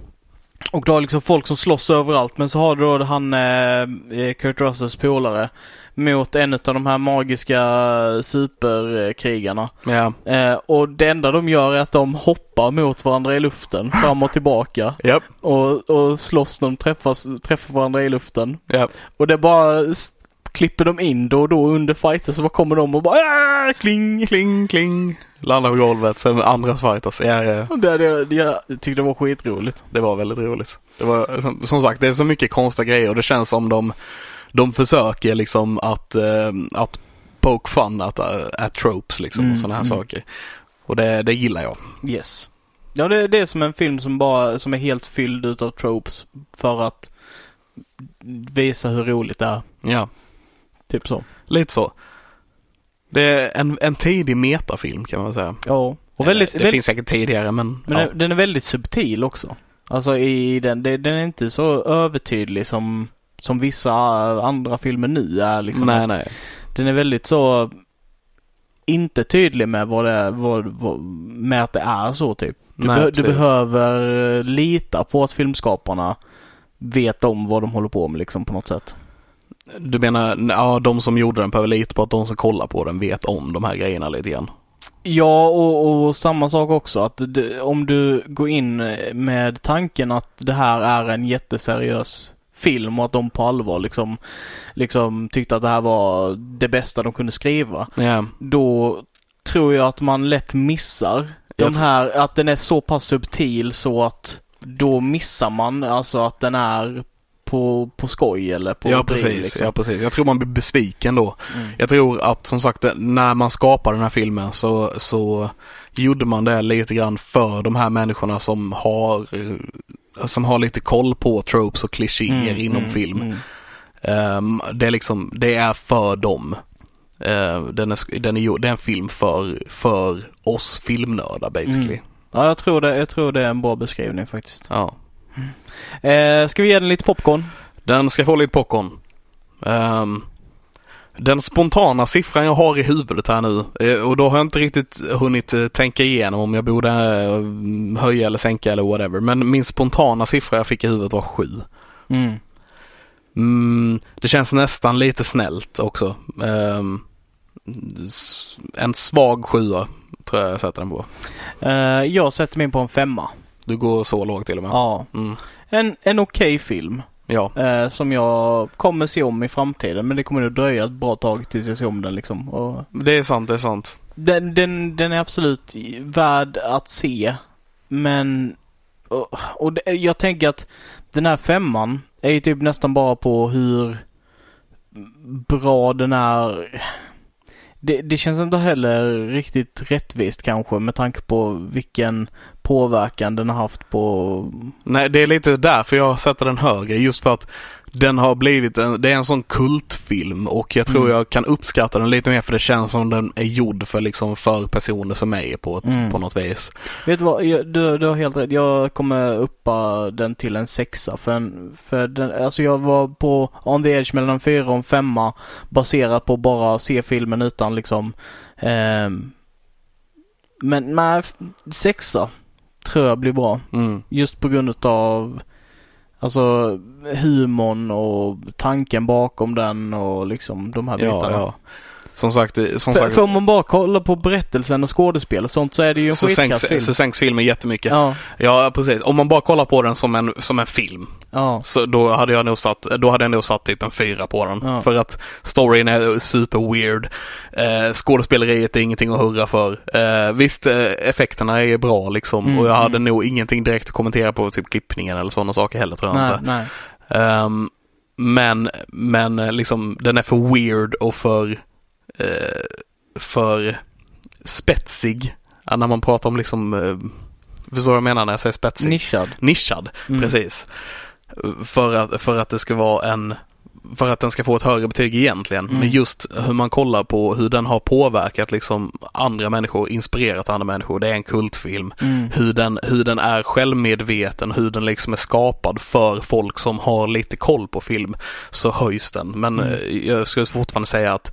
[SPEAKER 1] Och då har liksom folk som slåss överallt men så har du då han eh, Kurt Russells polare mot en av de här magiska superkrigarna.
[SPEAKER 2] Ja.
[SPEAKER 1] Eh, och det enda de gör är att de hoppar mot varandra i luften fram och tillbaka.
[SPEAKER 2] Japp.
[SPEAKER 1] Och, och slåss när de träffas, träffar varandra i luften.
[SPEAKER 2] Japp.
[SPEAKER 1] Och det bara s- klipper de in då och då under fighter så bara kommer de och bara "Ah, kling.
[SPEAKER 2] Kling, kling. Landar på golvet, sen andra fightas. Ja, ja.
[SPEAKER 1] Och det, det, det, jag tyckte det var skitroligt.
[SPEAKER 2] Det var väldigt roligt. Det var, som- som sagt, det är så mycket konstiga grejer och det känns som de, de försöker liksom att, eh, att poke fun at, eh, at tropes liksom
[SPEAKER 1] Mm,
[SPEAKER 2] och sådana här
[SPEAKER 1] mm.
[SPEAKER 2] saker. Och det, det gillar jag.
[SPEAKER 1] Yes. Ja, det, det är som en film som bara, som är helt fylld utav tropes för att visa hur roligt det är.
[SPEAKER 2] Ja,
[SPEAKER 1] Typ så.
[SPEAKER 2] lite så. Det är en, en tidig metafilm kan man säga.
[SPEAKER 1] Ja. Och
[SPEAKER 2] Eller,
[SPEAKER 1] väldigt,
[SPEAKER 2] det
[SPEAKER 1] väldigt,
[SPEAKER 2] finns säkert tidigare men,
[SPEAKER 1] men
[SPEAKER 2] ja.
[SPEAKER 1] den, den är väldigt subtil också. Alltså i den, det- den är inte så övertydlig som, som vissa andra filmer nu är liksom.
[SPEAKER 2] nej,
[SPEAKER 1] Att
[SPEAKER 2] nej.
[SPEAKER 1] Den är väldigt så inte tydlig med vad det är, vad, vad, med att det är så typ. Du,
[SPEAKER 2] nej
[SPEAKER 1] behö- du
[SPEAKER 2] precis.
[SPEAKER 1] behöver eh, lita på att filmskaparna vet om vad de håller på med liksom på något sätt.
[SPEAKER 2] Du menar, ja de som gjorde den behöver lite på att de som kollar på den vet om de här grejerna lite grann.
[SPEAKER 1] Ja, och, och samma sak också att du, om du går in med tanken att det här är en jätteseriös film och att de på allvar liksom, liksom tyckte att det här var det bästa de kunde skriva.
[SPEAKER 2] Ja,
[SPEAKER 1] Då tror jag att man lätt missar
[SPEAKER 2] Jag
[SPEAKER 1] de
[SPEAKER 2] tr-
[SPEAKER 1] här, att den är så pass subtil så att då missar man alltså att den är på, på skoj eller på
[SPEAKER 2] ja,
[SPEAKER 1] driv,
[SPEAKER 2] precis,
[SPEAKER 1] liksom.
[SPEAKER 2] ja precis. Jag tror man blir besviken då.
[SPEAKER 1] Mm.
[SPEAKER 2] Jag tror att som sagt när man skapar den här filmen så, så gjorde man det lite grann för de här människorna som har eh, som har lite koll på tropes och klichéer
[SPEAKER 1] Mm,
[SPEAKER 2] inom
[SPEAKER 1] mm,
[SPEAKER 2] film.
[SPEAKER 1] mm.
[SPEAKER 2] Ehm, det är liksom, det är för dem. Ehm, den, är, sk- den, är, gjord- det är en film för, för oss filmnördar basically.
[SPEAKER 1] Mm. Ja, jag tror, det, jag tror det är en bra beskrivning faktiskt.
[SPEAKER 2] Ja.
[SPEAKER 1] Eh, ska vi ge den lite popcorn?
[SPEAKER 2] Den ska få lite popcorn. Ehm, den spontana siffran jag har i huvudet här nu eh, och då har jag inte riktigt hunnit eh, tänka igenom om jag borde eh, höja eller sänka eller whatever. Men min spontana siffra jag fick i huvudet var sju.
[SPEAKER 1] Mm.
[SPEAKER 2] Mm, det känns nästan lite snällt också. Ehm, s- en svag sjua tror jag jag sätter den på.
[SPEAKER 1] Eh, jag sätter min på en femma.
[SPEAKER 2] Du går så lågt till och med.
[SPEAKER 1] Ja.
[SPEAKER 2] Mm,
[SPEAKER 1] En, en okej film
[SPEAKER 2] ja.
[SPEAKER 1] eh, som jag kommer se om i framtiden men det kommer nog dröja ett bra tag tills jag ser om den liksom. Och
[SPEAKER 2] det är sant, det är sant.
[SPEAKER 1] den, den, den är absolut värd att se men och, och det, jag tänker att den här femman är ju typ nästan bara på hur bra den är. Det, det känns inte heller riktigt rättvist kanske med tanke på vilken påverkan den har haft på...
[SPEAKER 2] Nej, det är lite därför jag sätter den högre. Just för att den har blivit en, det är en sån kultfilm och jag tror
[SPEAKER 1] Mm.
[SPEAKER 2] jag kan uppskatta den lite mer för det känns som den är gjord för liksom för personer som mig på, ett,
[SPEAKER 1] Mm.
[SPEAKER 2] på något vis.
[SPEAKER 1] Vet du vad, jag, du, du har helt rätt. Jag kommer uppa den till en sexa för, en, för den, alltså jag var på on the edge mellan en fyra och en femma baserat på bara se filmen utan liksom ehm, men nej, f- sexa tror jag blir bra.
[SPEAKER 2] Mm.
[SPEAKER 1] Just på grund utav alltså humorn och tanken bakom den och liksom de här
[SPEAKER 2] Ja,
[SPEAKER 1] bitarna.
[SPEAKER 2] ja. Som sagt, eh, som
[SPEAKER 1] För,
[SPEAKER 2] sagt
[SPEAKER 1] för om man bara kollar på berättelsen och skådespel och sånt så är det ju en
[SPEAKER 2] så,
[SPEAKER 1] skitkass film.
[SPEAKER 2] sänks, så sänks filmen jättemycket. Ja.
[SPEAKER 1] Ja,
[SPEAKER 2] precis. Om man bara kollar på den som en, som en film
[SPEAKER 1] ja.
[SPEAKER 2] så då hade jag nog satt, då hade jag nog satt typ en fyra på den.
[SPEAKER 1] Ja.
[SPEAKER 2] För att storyn är super weird. Eh, skådespeleriet är ingenting att hurra för. Eh, visst, eh, effekterna är bra liksom
[SPEAKER 1] Mm,
[SPEAKER 2] och jag hade
[SPEAKER 1] mm.
[SPEAKER 2] nog ingenting direkt att kommentera på typ klippningen eller sådana saker heller tror jag
[SPEAKER 1] Nej,
[SPEAKER 2] inte.
[SPEAKER 1] nej.
[SPEAKER 2] Ehm, men, men eh, liksom den är för weird och för, eh, för spetsig. Ja, när man pratar om liksom, eh, förstår du vad jag menar när jag säger spetsig?
[SPEAKER 1] Nischad.
[SPEAKER 2] Nischad,
[SPEAKER 1] Mm.
[SPEAKER 2] precis. För att, för att det ska vara en, för att den ska få ett högre betyg egentligen.
[SPEAKER 1] Mm.
[SPEAKER 2] Men just hur man kollar på hur den har påverkat liksom andra människor, inspirerat andra människor. Det är en kultfilm
[SPEAKER 1] Mm.
[SPEAKER 2] hur den, hur den är självmedveten, hur den liksom är skapad för folk som har lite koll på film, så höjs den. Men
[SPEAKER 1] Mm.
[SPEAKER 2] eh, jag skulle fortfarande säga att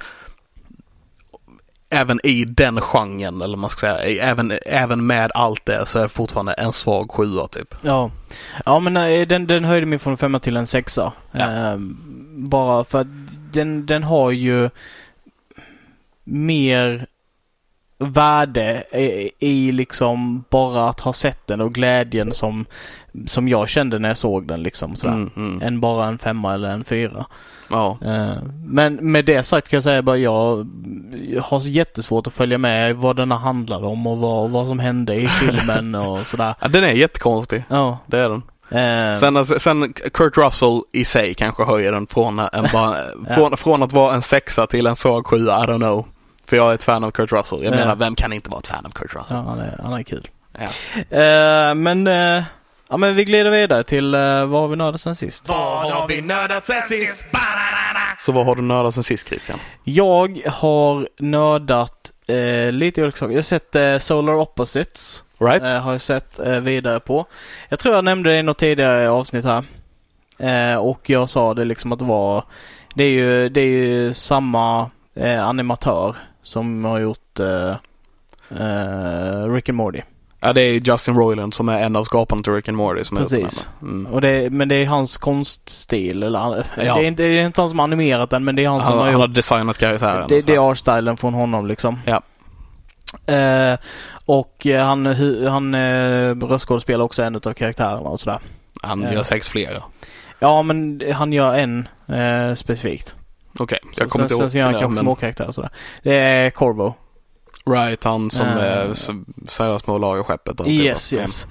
[SPEAKER 2] även i den genren, eller vad man ska säga, i- även, även med allt det så är det fortfarande en svag sjua typ.
[SPEAKER 1] Ja. Ja men nej, den, den höjde mig från en femma till en sexa.
[SPEAKER 2] Ja.
[SPEAKER 1] Ehm, bara för att den, den har ju mer värde i, i liksom bara att ha sett den och glädjen som, som jag kände när jag såg den liksom. Sådär.
[SPEAKER 2] Mm, mm.
[SPEAKER 1] Än bara en femma eller en fyra.
[SPEAKER 2] Ja.
[SPEAKER 1] Eh, Men med det sagt kan jag säga bara jag har så jättesvårt att följa med vad denna handlar om och vad, vad som hände
[SPEAKER 2] *laughs*
[SPEAKER 1] i filmen och sådär.
[SPEAKER 2] ja, den är jättekonstig.
[SPEAKER 1] Ja.
[SPEAKER 2] Det är den.
[SPEAKER 1] eh,
[SPEAKER 2] Sen, alltså, sen Kurt Russell i sig kanske höjer den från, eh, en
[SPEAKER 1] *laughs*
[SPEAKER 2] bara, från, från att vara en sexa till en svag sjua, I don't know. För jag är ett fan av Kurt Russell. Jag
[SPEAKER 1] Ja.
[SPEAKER 2] menar, vem kan inte vara ett fan av Kurt
[SPEAKER 1] Ja,
[SPEAKER 2] Russell?
[SPEAKER 1] han är, han är kul.
[SPEAKER 2] Ja.
[SPEAKER 1] Eh, men, eh, ja, men vi glider vidare till eh, vad har vi nördat sen sist?
[SPEAKER 2] Vad har vi nördat sen sist? Så vad har du nördat sen sist Christian?
[SPEAKER 1] Jag har nördat eh, lite olika saker. Jag har sett eh, Solar Opposites.
[SPEAKER 2] Right?
[SPEAKER 1] Eh, har jag sett eh, vidare på. Jag tror jag nämnde det i något tidigare avsnitt här. Eh, och jag sa det liksom att det var... Det är ju, det är ju samma eh, animatör som har gjort eh, eh, Rick and Morty.
[SPEAKER 2] Ja, det är Justin Roiland som är en av skaparna till Rick and Morty som är
[SPEAKER 1] Precis.
[SPEAKER 2] uppe med mig. Mm.
[SPEAKER 1] Och det, men det är hans konststil. Eller, han-
[SPEAKER 2] Ja.
[SPEAKER 1] det, är inte, det är inte han som har animerat den men det är han,
[SPEAKER 2] Han,
[SPEAKER 1] som har
[SPEAKER 2] han har
[SPEAKER 1] gjort
[SPEAKER 2] designat karaktären.
[SPEAKER 1] det,
[SPEAKER 2] och
[SPEAKER 1] det
[SPEAKER 2] sådär.
[SPEAKER 1] är artstylen från honom liksom.
[SPEAKER 2] Ja.
[SPEAKER 1] Eh, och eh, han, hu- han eh, röstskådespelar också en utav karaktärerna och sådär.
[SPEAKER 2] Han
[SPEAKER 1] Ja.
[SPEAKER 2] gör säkert flera.
[SPEAKER 1] Ja men han gör en eh, specifikt.
[SPEAKER 2] Okej, jag kommer
[SPEAKER 1] sen,
[SPEAKER 2] inte
[SPEAKER 1] sen
[SPEAKER 2] ihåg.
[SPEAKER 1] så gör han
[SPEAKER 2] det,
[SPEAKER 1] kanske
[SPEAKER 2] men-
[SPEAKER 1] småkaraktärer och sådär. Det är Corvo.
[SPEAKER 2] Right, han som
[SPEAKER 1] Eh.
[SPEAKER 2] eh, s- seriöst med att laga skeppet. typ. och alltihopa.
[SPEAKER 1] Yes, yes.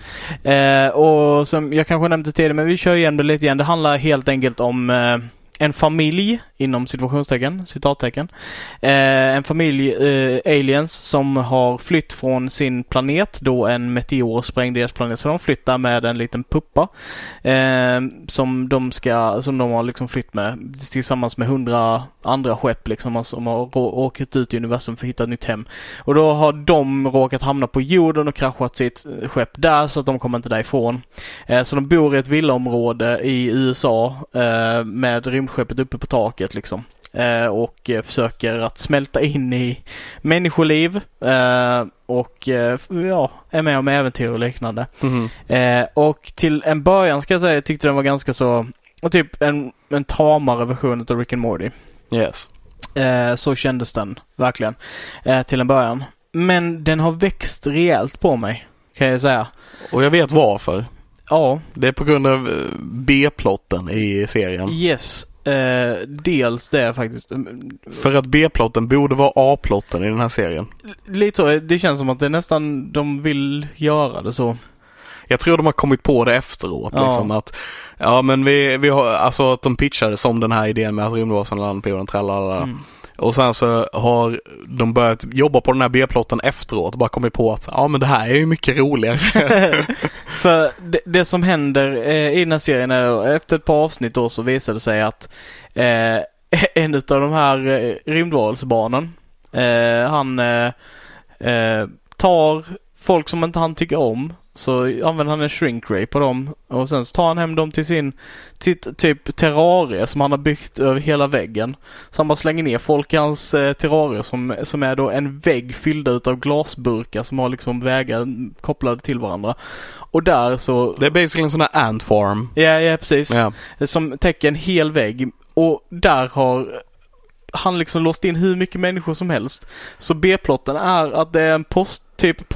[SPEAKER 1] Eh, och som jag kanske nämnde tidigare, men vi kör igen det lite igen. Det handlar helt enkelt om eh, en familj, inom situationstecken, citattecken. Eh, en familj eh, aliens som har flytt från sin planet då en meteor sprängde deras planet. Så de flyttar med en liten puppa eh, som, de ska, som de har liksom flytt med tillsammans med hundra andra skepp liksom alltså, som har rå- åkt ut i universum för att hitta ett nytt hem. Och då har de råkat hamna på jorden och kraschat sitt eh, skepp där så att de kommer inte därifrån. Eh, så de bor i ett villaområde i USA eh, med rymdskeppet uppe på taket liksom. Eh, och eh, försöker att smälta in i människoliv eh, och eh, f- ja, är med om äventyr och liknande.
[SPEAKER 2] Mhm.
[SPEAKER 1] Eh, och till en början ska jag säga, jag tyckte den var ganska så, typ en, en tamare version av Rick and Morty.
[SPEAKER 2] Yes.
[SPEAKER 1] Eh, så kändes den verkligen eh, till en början. Men den har växt rejält på mig kan jag säga.
[SPEAKER 2] Och jag vet varför.
[SPEAKER 1] Ja,
[SPEAKER 2] Det är på grund av eh, B-plotten i serien.
[SPEAKER 1] yes. Eh, dels det faktiskt. Mm,
[SPEAKER 2] För att B-plotten borde vara A-plotten i den här serien.
[SPEAKER 1] Lite så, det känns som att det är nästan de vill göra det så.
[SPEAKER 2] Jag tror de har kommit på det efteråt.
[SPEAKER 1] Ja.
[SPEAKER 2] Liksom, att, ja men vi, vi har, alltså att de pitchade som den här idén med att rymdvarelsen landar på jorden, tralala.
[SPEAKER 1] Mm. *laughs*
[SPEAKER 2] Och sen så har de börjat jobba på den här B-plotten efteråt och bara kommit på att ja men det här är ju mycket roligare.
[SPEAKER 1] För det, det som händer eh, i den här serien är då, efter ett par avsnitt då så visar det sig att eh, *laughs* en av de här eh, rymdvarelsebarnen, eh, han eh, eh, tar folk som inte han tycker om så använder han en shrink ray på dem och sen så tar han hem dem till sin sitt typ terrarie som han har byggt över hela väggen. Så han bara slänger ner folk i hans eh, terrarie som, som är då en vägg fyllda utav glasburkar som har liksom vägar kopplade till varandra. Och där så...
[SPEAKER 2] Det är basically en sån här ant farm.
[SPEAKER 1] Ja, ja precis.
[SPEAKER 2] Ja.
[SPEAKER 1] eh, Som täcker en hel vägg. Och där har han liksom låst in hur mycket människor som helst. Så B-plotten är att det är en post, typ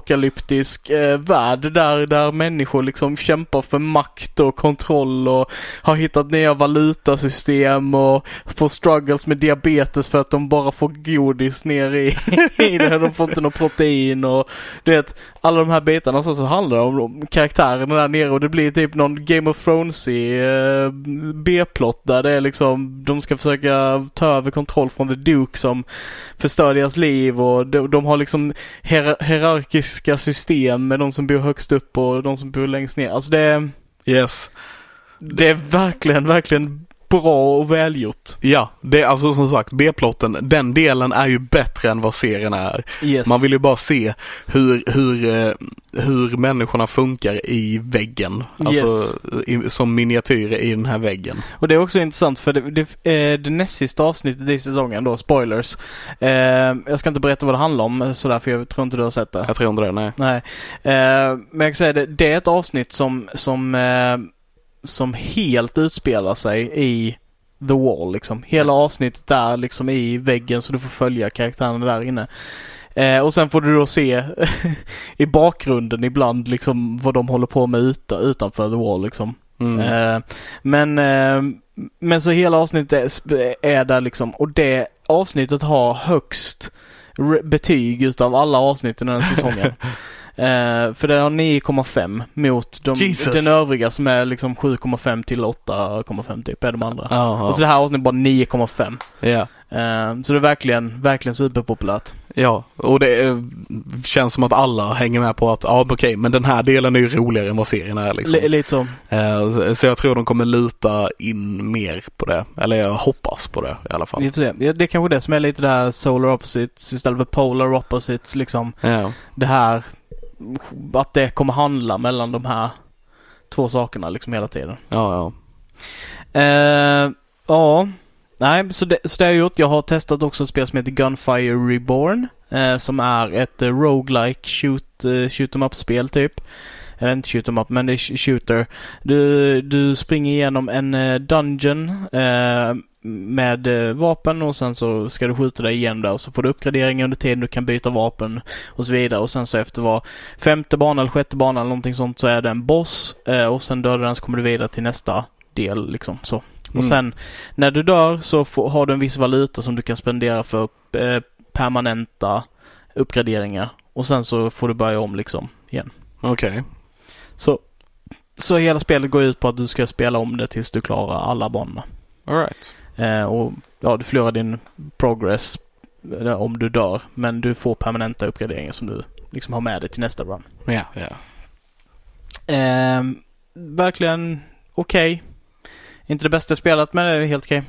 [SPEAKER 1] postapokalyptisk eh, värld där, där människor liksom kämpar för makt och kontroll och har hittat nya valutasystem och får struggles med diabetes för att de bara får godis ner i, *laughs* i det. De får inte något protein och du vet, alla de här bitarna så, så handlar det om de karaktärerna där nere och det blir typ någon Game of Thrones-ig eh, B-plot där det är liksom de ska försöka ta över kontroll från The Duke som förstör deras liv och de, de har liksom hier- hierarkiska system med de som bor högst upp och de som bor längst ner. Alltså det är,
[SPEAKER 2] Yes.
[SPEAKER 1] det är verkligen, verkligen bra och välgjort.
[SPEAKER 2] Ja, det är alltså som sagt B-plotten, den delen är ju bättre än vad serien är.
[SPEAKER 1] Yes.
[SPEAKER 2] Man vill ju bara se hur, hur, eh, hur människorna funkar i väggen. Alltså i, som miniatyrer i den här väggen.
[SPEAKER 1] Och det är också intressant för det, det, eh, det näst sista avsnittet i säsongen då, spoilers. Eh, jag ska inte berätta vad det handlar om eh, sådär för jag tror inte du har sett det.
[SPEAKER 2] Jag tror inte det, nej.
[SPEAKER 1] Nej. Eh, men jag kan säga det, det är ett avsnitt som, som, eh, som helt utspelar sig i The Wall liksom. Hela avsnittet där liksom i väggen så du får följa karaktärerna där inne. Eh, och sen får du då se *laughs* i bakgrunden ibland liksom vad de håller på med uta, utanför The Wall liksom.
[SPEAKER 2] Mm.
[SPEAKER 1] Eh, men, eh, men så hela avsnittet är, sp- är där liksom och det avsnittet har högst re- betyg utav alla avsnitt i den här
[SPEAKER 2] *laughs*
[SPEAKER 1] säsongen. Eh, för den har 9,5 mot de,
[SPEAKER 2] Jesus.
[SPEAKER 1] den övriga som är liksom 7,5 till 8,5 typ är de andra.
[SPEAKER 2] Ja,
[SPEAKER 1] Alltså det här avsnittet är bara 9,5.
[SPEAKER 2] ja.
[SPEAKER 1] Eh, så det är verkligen, verkligen superpopulärt.
[SPEAKER 2] Ja, och det eh, känns som att alla hänger med på att ja, okej, men den här delen är ju roligare än vad serien är liksom.
[SPEAKER 1] Li- lite så.
[SPEAKER 2] Eh, så- Så jag tror de kommer luta in mer på det. Eller jag hoppas på det i alla fall.
[SPEAKER 1] Vi får se. Ja, Det är kanske det som är lite det här solar opposites istället för polar opposites liksom.
[SPEAKER 2] Ja.
[SPEAKER 1] Det här att det kommer handla mellan de här två sakerna liksom hela tiden.
[SPEAKER 2] Ja, ja.
[SPEAKER 1] Eh, ja. Nej, så det, så det har jag gjort. Jag har testat också ett spel som heter Gunfire Reborn. Eh, som är ett eh, roguelike shoot, eh, shoot 'em up-spel typ. Eller inte shoot 'em up, men det är sh- shooter. Du, du springer igenom en eh, dungeon eh, med eh, vapen och sen så ska du skjuta dig igen där och så får du uppgraderingar under tiden du kan byta vapen och så vidare. Och sen så efter var femte bana eller sjätte bana eller någonting sånt så är det en boss eh, och sen dödar den så kommer du vidare till nästa del liksom så. Och
[SPEAKER 2] Mm.
[SPEAKER 1] sen när du dör så får, har du en viss valuta som du kan spendera för eh, permanenta uppgraderingar. Och sen så får du börja om liksom igen.
[SPEAKER 2] Okej.
[SPEAKER 1] Så, så hela spelet går ut på att du ska spela om det tills du klarar alla banorna.
[SPEAKER 2] Alright.
[SPEAKER 1] Eh, och ja, du förlorar din progress eh, om du dör. Men du får permanenta uppgraderingar som du liksom har med dig till nästa run.
[SPEAKER 2] Ja, ja.
[SPEAKER 1] Ehm, verkligen okej. Inte det bästa jag spelat men det är helt okej.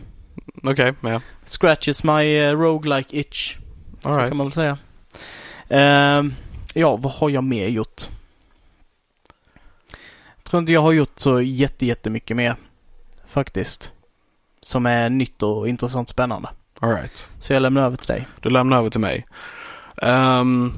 [SPEAKER 2] Okej, ja.
[SPEAKER 1] Scratches my uh, roguelike itch. Så kan man
[SPEAKER 2] Alright.
[SPEAKER 1] väl säga. Ehm, ja, vad har jag mer gjort? Jag tror inte jag har gjort så jätte, jättemycket mer. Faktiskt. Som är nytt och intressant spännande.
[SPEAKER 2] Alright.
[SPEAKER 1] Så jag lämnar över till dig.
[SPEAKER 2] Du lämnar över till mig. Ehm,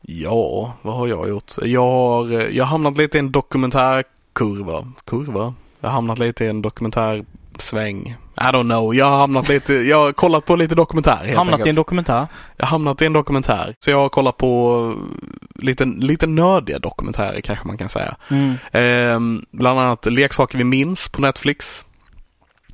[SPEAKER 2] ja, vad har jag gjort? Jag har, eh, jag har hamnat lite i en dokumentärkurva. Kurva? Jag har hamnat lite i en dokumentärsväng. I don't know. Jag har hamnat lite, jag har kollat på lite dokumentär helt
[SPEAKER 1] Hamnat
[SPEAKER 2] enkelt.
[SPEAKER 1] i en dokumentär.
[SPEAKER 2] Jag har hamnat i en dokumentär. Så jag har kollat på eh, lite, lite nördiga dokumentärer kanske man kan säga.
[SPEAKER 1] Mm.
[SPEAKER 2] Ehm, bland annat Leksaker vi minns på Netflix.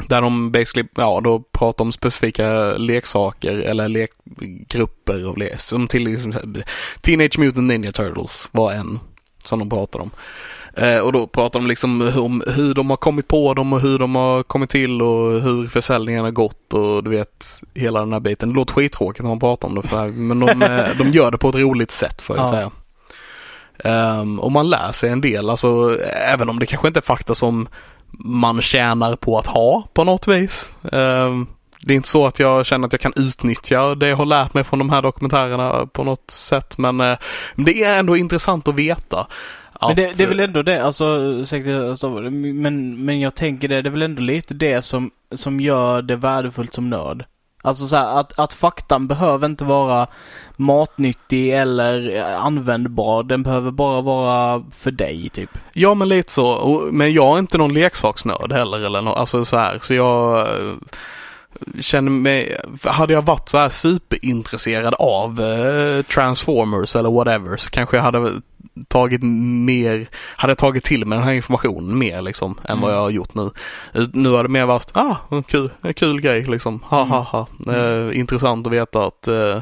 [SPEAKER 2] Där de basically, ja, då pratar om specifika leksaker eller lekgrupper av lek. Som till exempel Teenage Mutant Ninja Turtles var en som de pratade om. Eh, och då pratar de liksom hur- om hur de har kommit på dem och hur de har kommit till och hur försäljningen har gått och du vet hela den här biten. Det låter skittråkigt när man pratar om det för, men de, eh, de gör det på ett roligt sätt får jag
[SPEAKER 1] Ja.
[SPEAKER 2] säga. Ehm, och man lär sig en del, alltså även om det kanske inte är fakta som man tjänar på att ha på något vis. Ehm, det är inte så att jag känner att jag kan utnyttja det jag har lärt mig från de här dokumentärerna på något sätt men eh, det är ändå intressant att veta.
[SPEAKER 1] Men
[SPEAKER 2] att-
[SPEAKER 1] det, det är väl ändå det, alltså, ursäkta, jag stoppar dig. men, men jag tänker det, det är väl ändå lite det som, som gör det värdefullt som nörd. Alltså så här, att, att faktan behöver inte vara matnyttig eller eh, användbar. Den behöver bara vara för dig, typ.
[SPEAKER 2] Ja men lite så, Och- men jag är inte någon leksaksnörd heller eller nå, alltså så här så jag eh, känner mig, hade jag varit så här superintresserad av eh, Transformers eller whatever så kanske jag hade tagit mer, hade jag tagit till mig den här informationen mer liksom än vad
[SPEAKER 1] Mm.
[SPEAKER 2] jag har gjort nu. Eh, Nu har det mer varit, ah, en kul, en kul grej liksom, ha ha ha. Eh, intressant att veta att eh,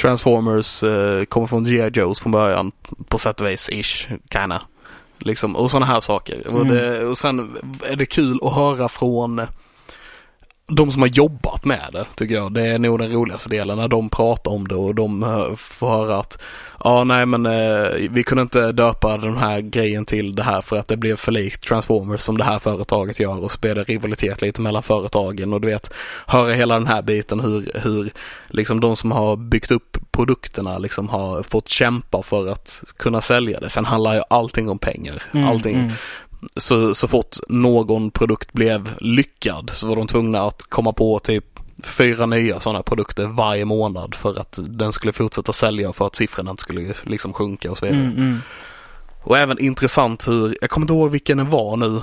[SPEAKER 2] Transformers eh, kommer från G.I. Joes från början på sätt och vis, ish, kinda. Liksom, och sådana här saker. Och,
[SPEAKER 1] Mm.
[SPEAKER 2] det, och sen är det kul att höra från de som har jobbat med det, tycker jag. Det är nog den roligaste delen, när de pratar om det och de hö- får höra att ja, nej men eh, vi kunde inte döpa den här grejen till det här för att det blev för likt Transformers som det här företaget gör och så blir det rivalitet lite mellan företagen och du vet, höra hela den här biten hur, hur liksom de som har byggt upp produkterna liksom har fått kämpa för att kunna sälja det. Sen handlar ju allting om pengar.
[SPEAKER 1] Mm,
[SPEAKER 2] allting. Så, så fort någon produkt blev lyckad så var de tvungna att komma på typ fyra nya sådana produkter varje månad för att den skulle fortsätta sälja och för att siffrorna inte skulle liksom sjunka och så vidare.
[SPEAKER 1] Mm, mm.
[SPEAKER 2] Och även intressant hur, jag kommer inte ihåg vilken det var nu,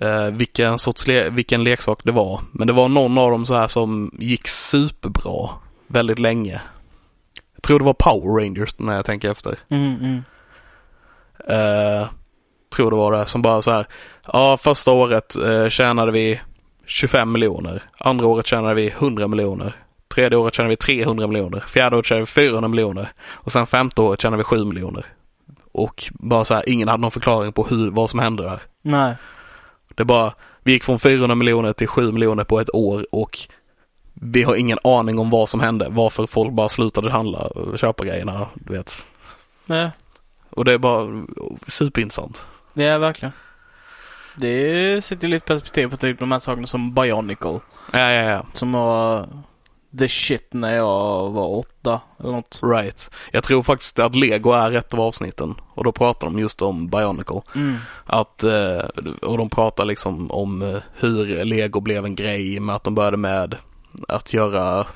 [SPEAKER 2] eh, vilken sorts le- vilken leksak det var. Men det var någon av dem så här som gick superbra väldigt länge. tror det var Power Rangers när jag tänker efter.
[SPEAKER 1] Mm, mm.
[SPEAKER 2] Eh, tror det var det, som bara så här. Ja, första året eh, tjänade vi 25 miljoner. Andra året tjänade vi 100 miljoner. Tredje året tjänade vi 300 miljoner. Fjärde året tjänade vi 400 miljoner. Och sen femte året tjänade vi 7 miljoner. Och bara så här, ingen hade någon förklaring på hur, vad som hände där.
[SPEAKER 1] Nej.
[SPEAKER 2] Det bara, vi gick från 400 miljoner till 7 miljoner på ett år och vi har ingen aning om vad som hände, varför folk bara slutade handla och köpa grejerna, du vet.
[SPEAKER 1] Nej.
[SPEAKER 2] Och det är bara superintressant.
[SPEAKER 1] Ja, verkligen. Det sätter ju lite perspektiv på typ de här sakerna som Bionicle.
[SPEAKER 2] Ja, ja, ja.
[SPEAKER 1] Som var the shit när jag var åtta eller något.
[SPEAKER 2] Right. Jag tror faktiskt att Lego är ett av avsnitten och då pratar de just om Bionicle.
[SPEAKER 1] Mm.
[SPEAKER 2] Att, eh, och de pratar liksom om eh, hur Lego blev en grej med att de började med att göra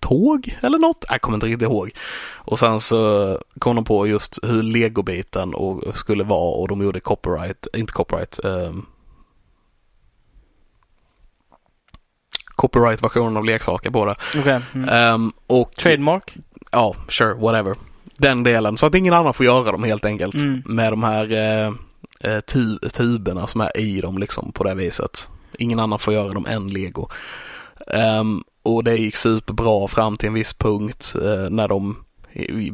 [SPEAKER 2] tåg eller något. Jag kommer inte riktigt ihåg. Och sen så kom de på just hur Lego-biten och skulle vara och de gjorde copyright, inte copyright, ehm, copyright-versionen av leksaker på det.
[SPEAKER 1] Okej. Mm.
[SPEAKER 2] Ehm, och
[SPEAKER 1] Trademark?
[SPEAKER 2] ja, sure, whatever. Den delen, så att ingen annan får göra dem helt enkelt.
[SPEAKER 1] Mm.
[SPEAKER 2] Med de här eh, eh, tu tuberna som är i dem liksom på det viset. Ingen annan får göra dem än Lego. Ehm, och det gick superbra fram till en viss punkt eh, när de i-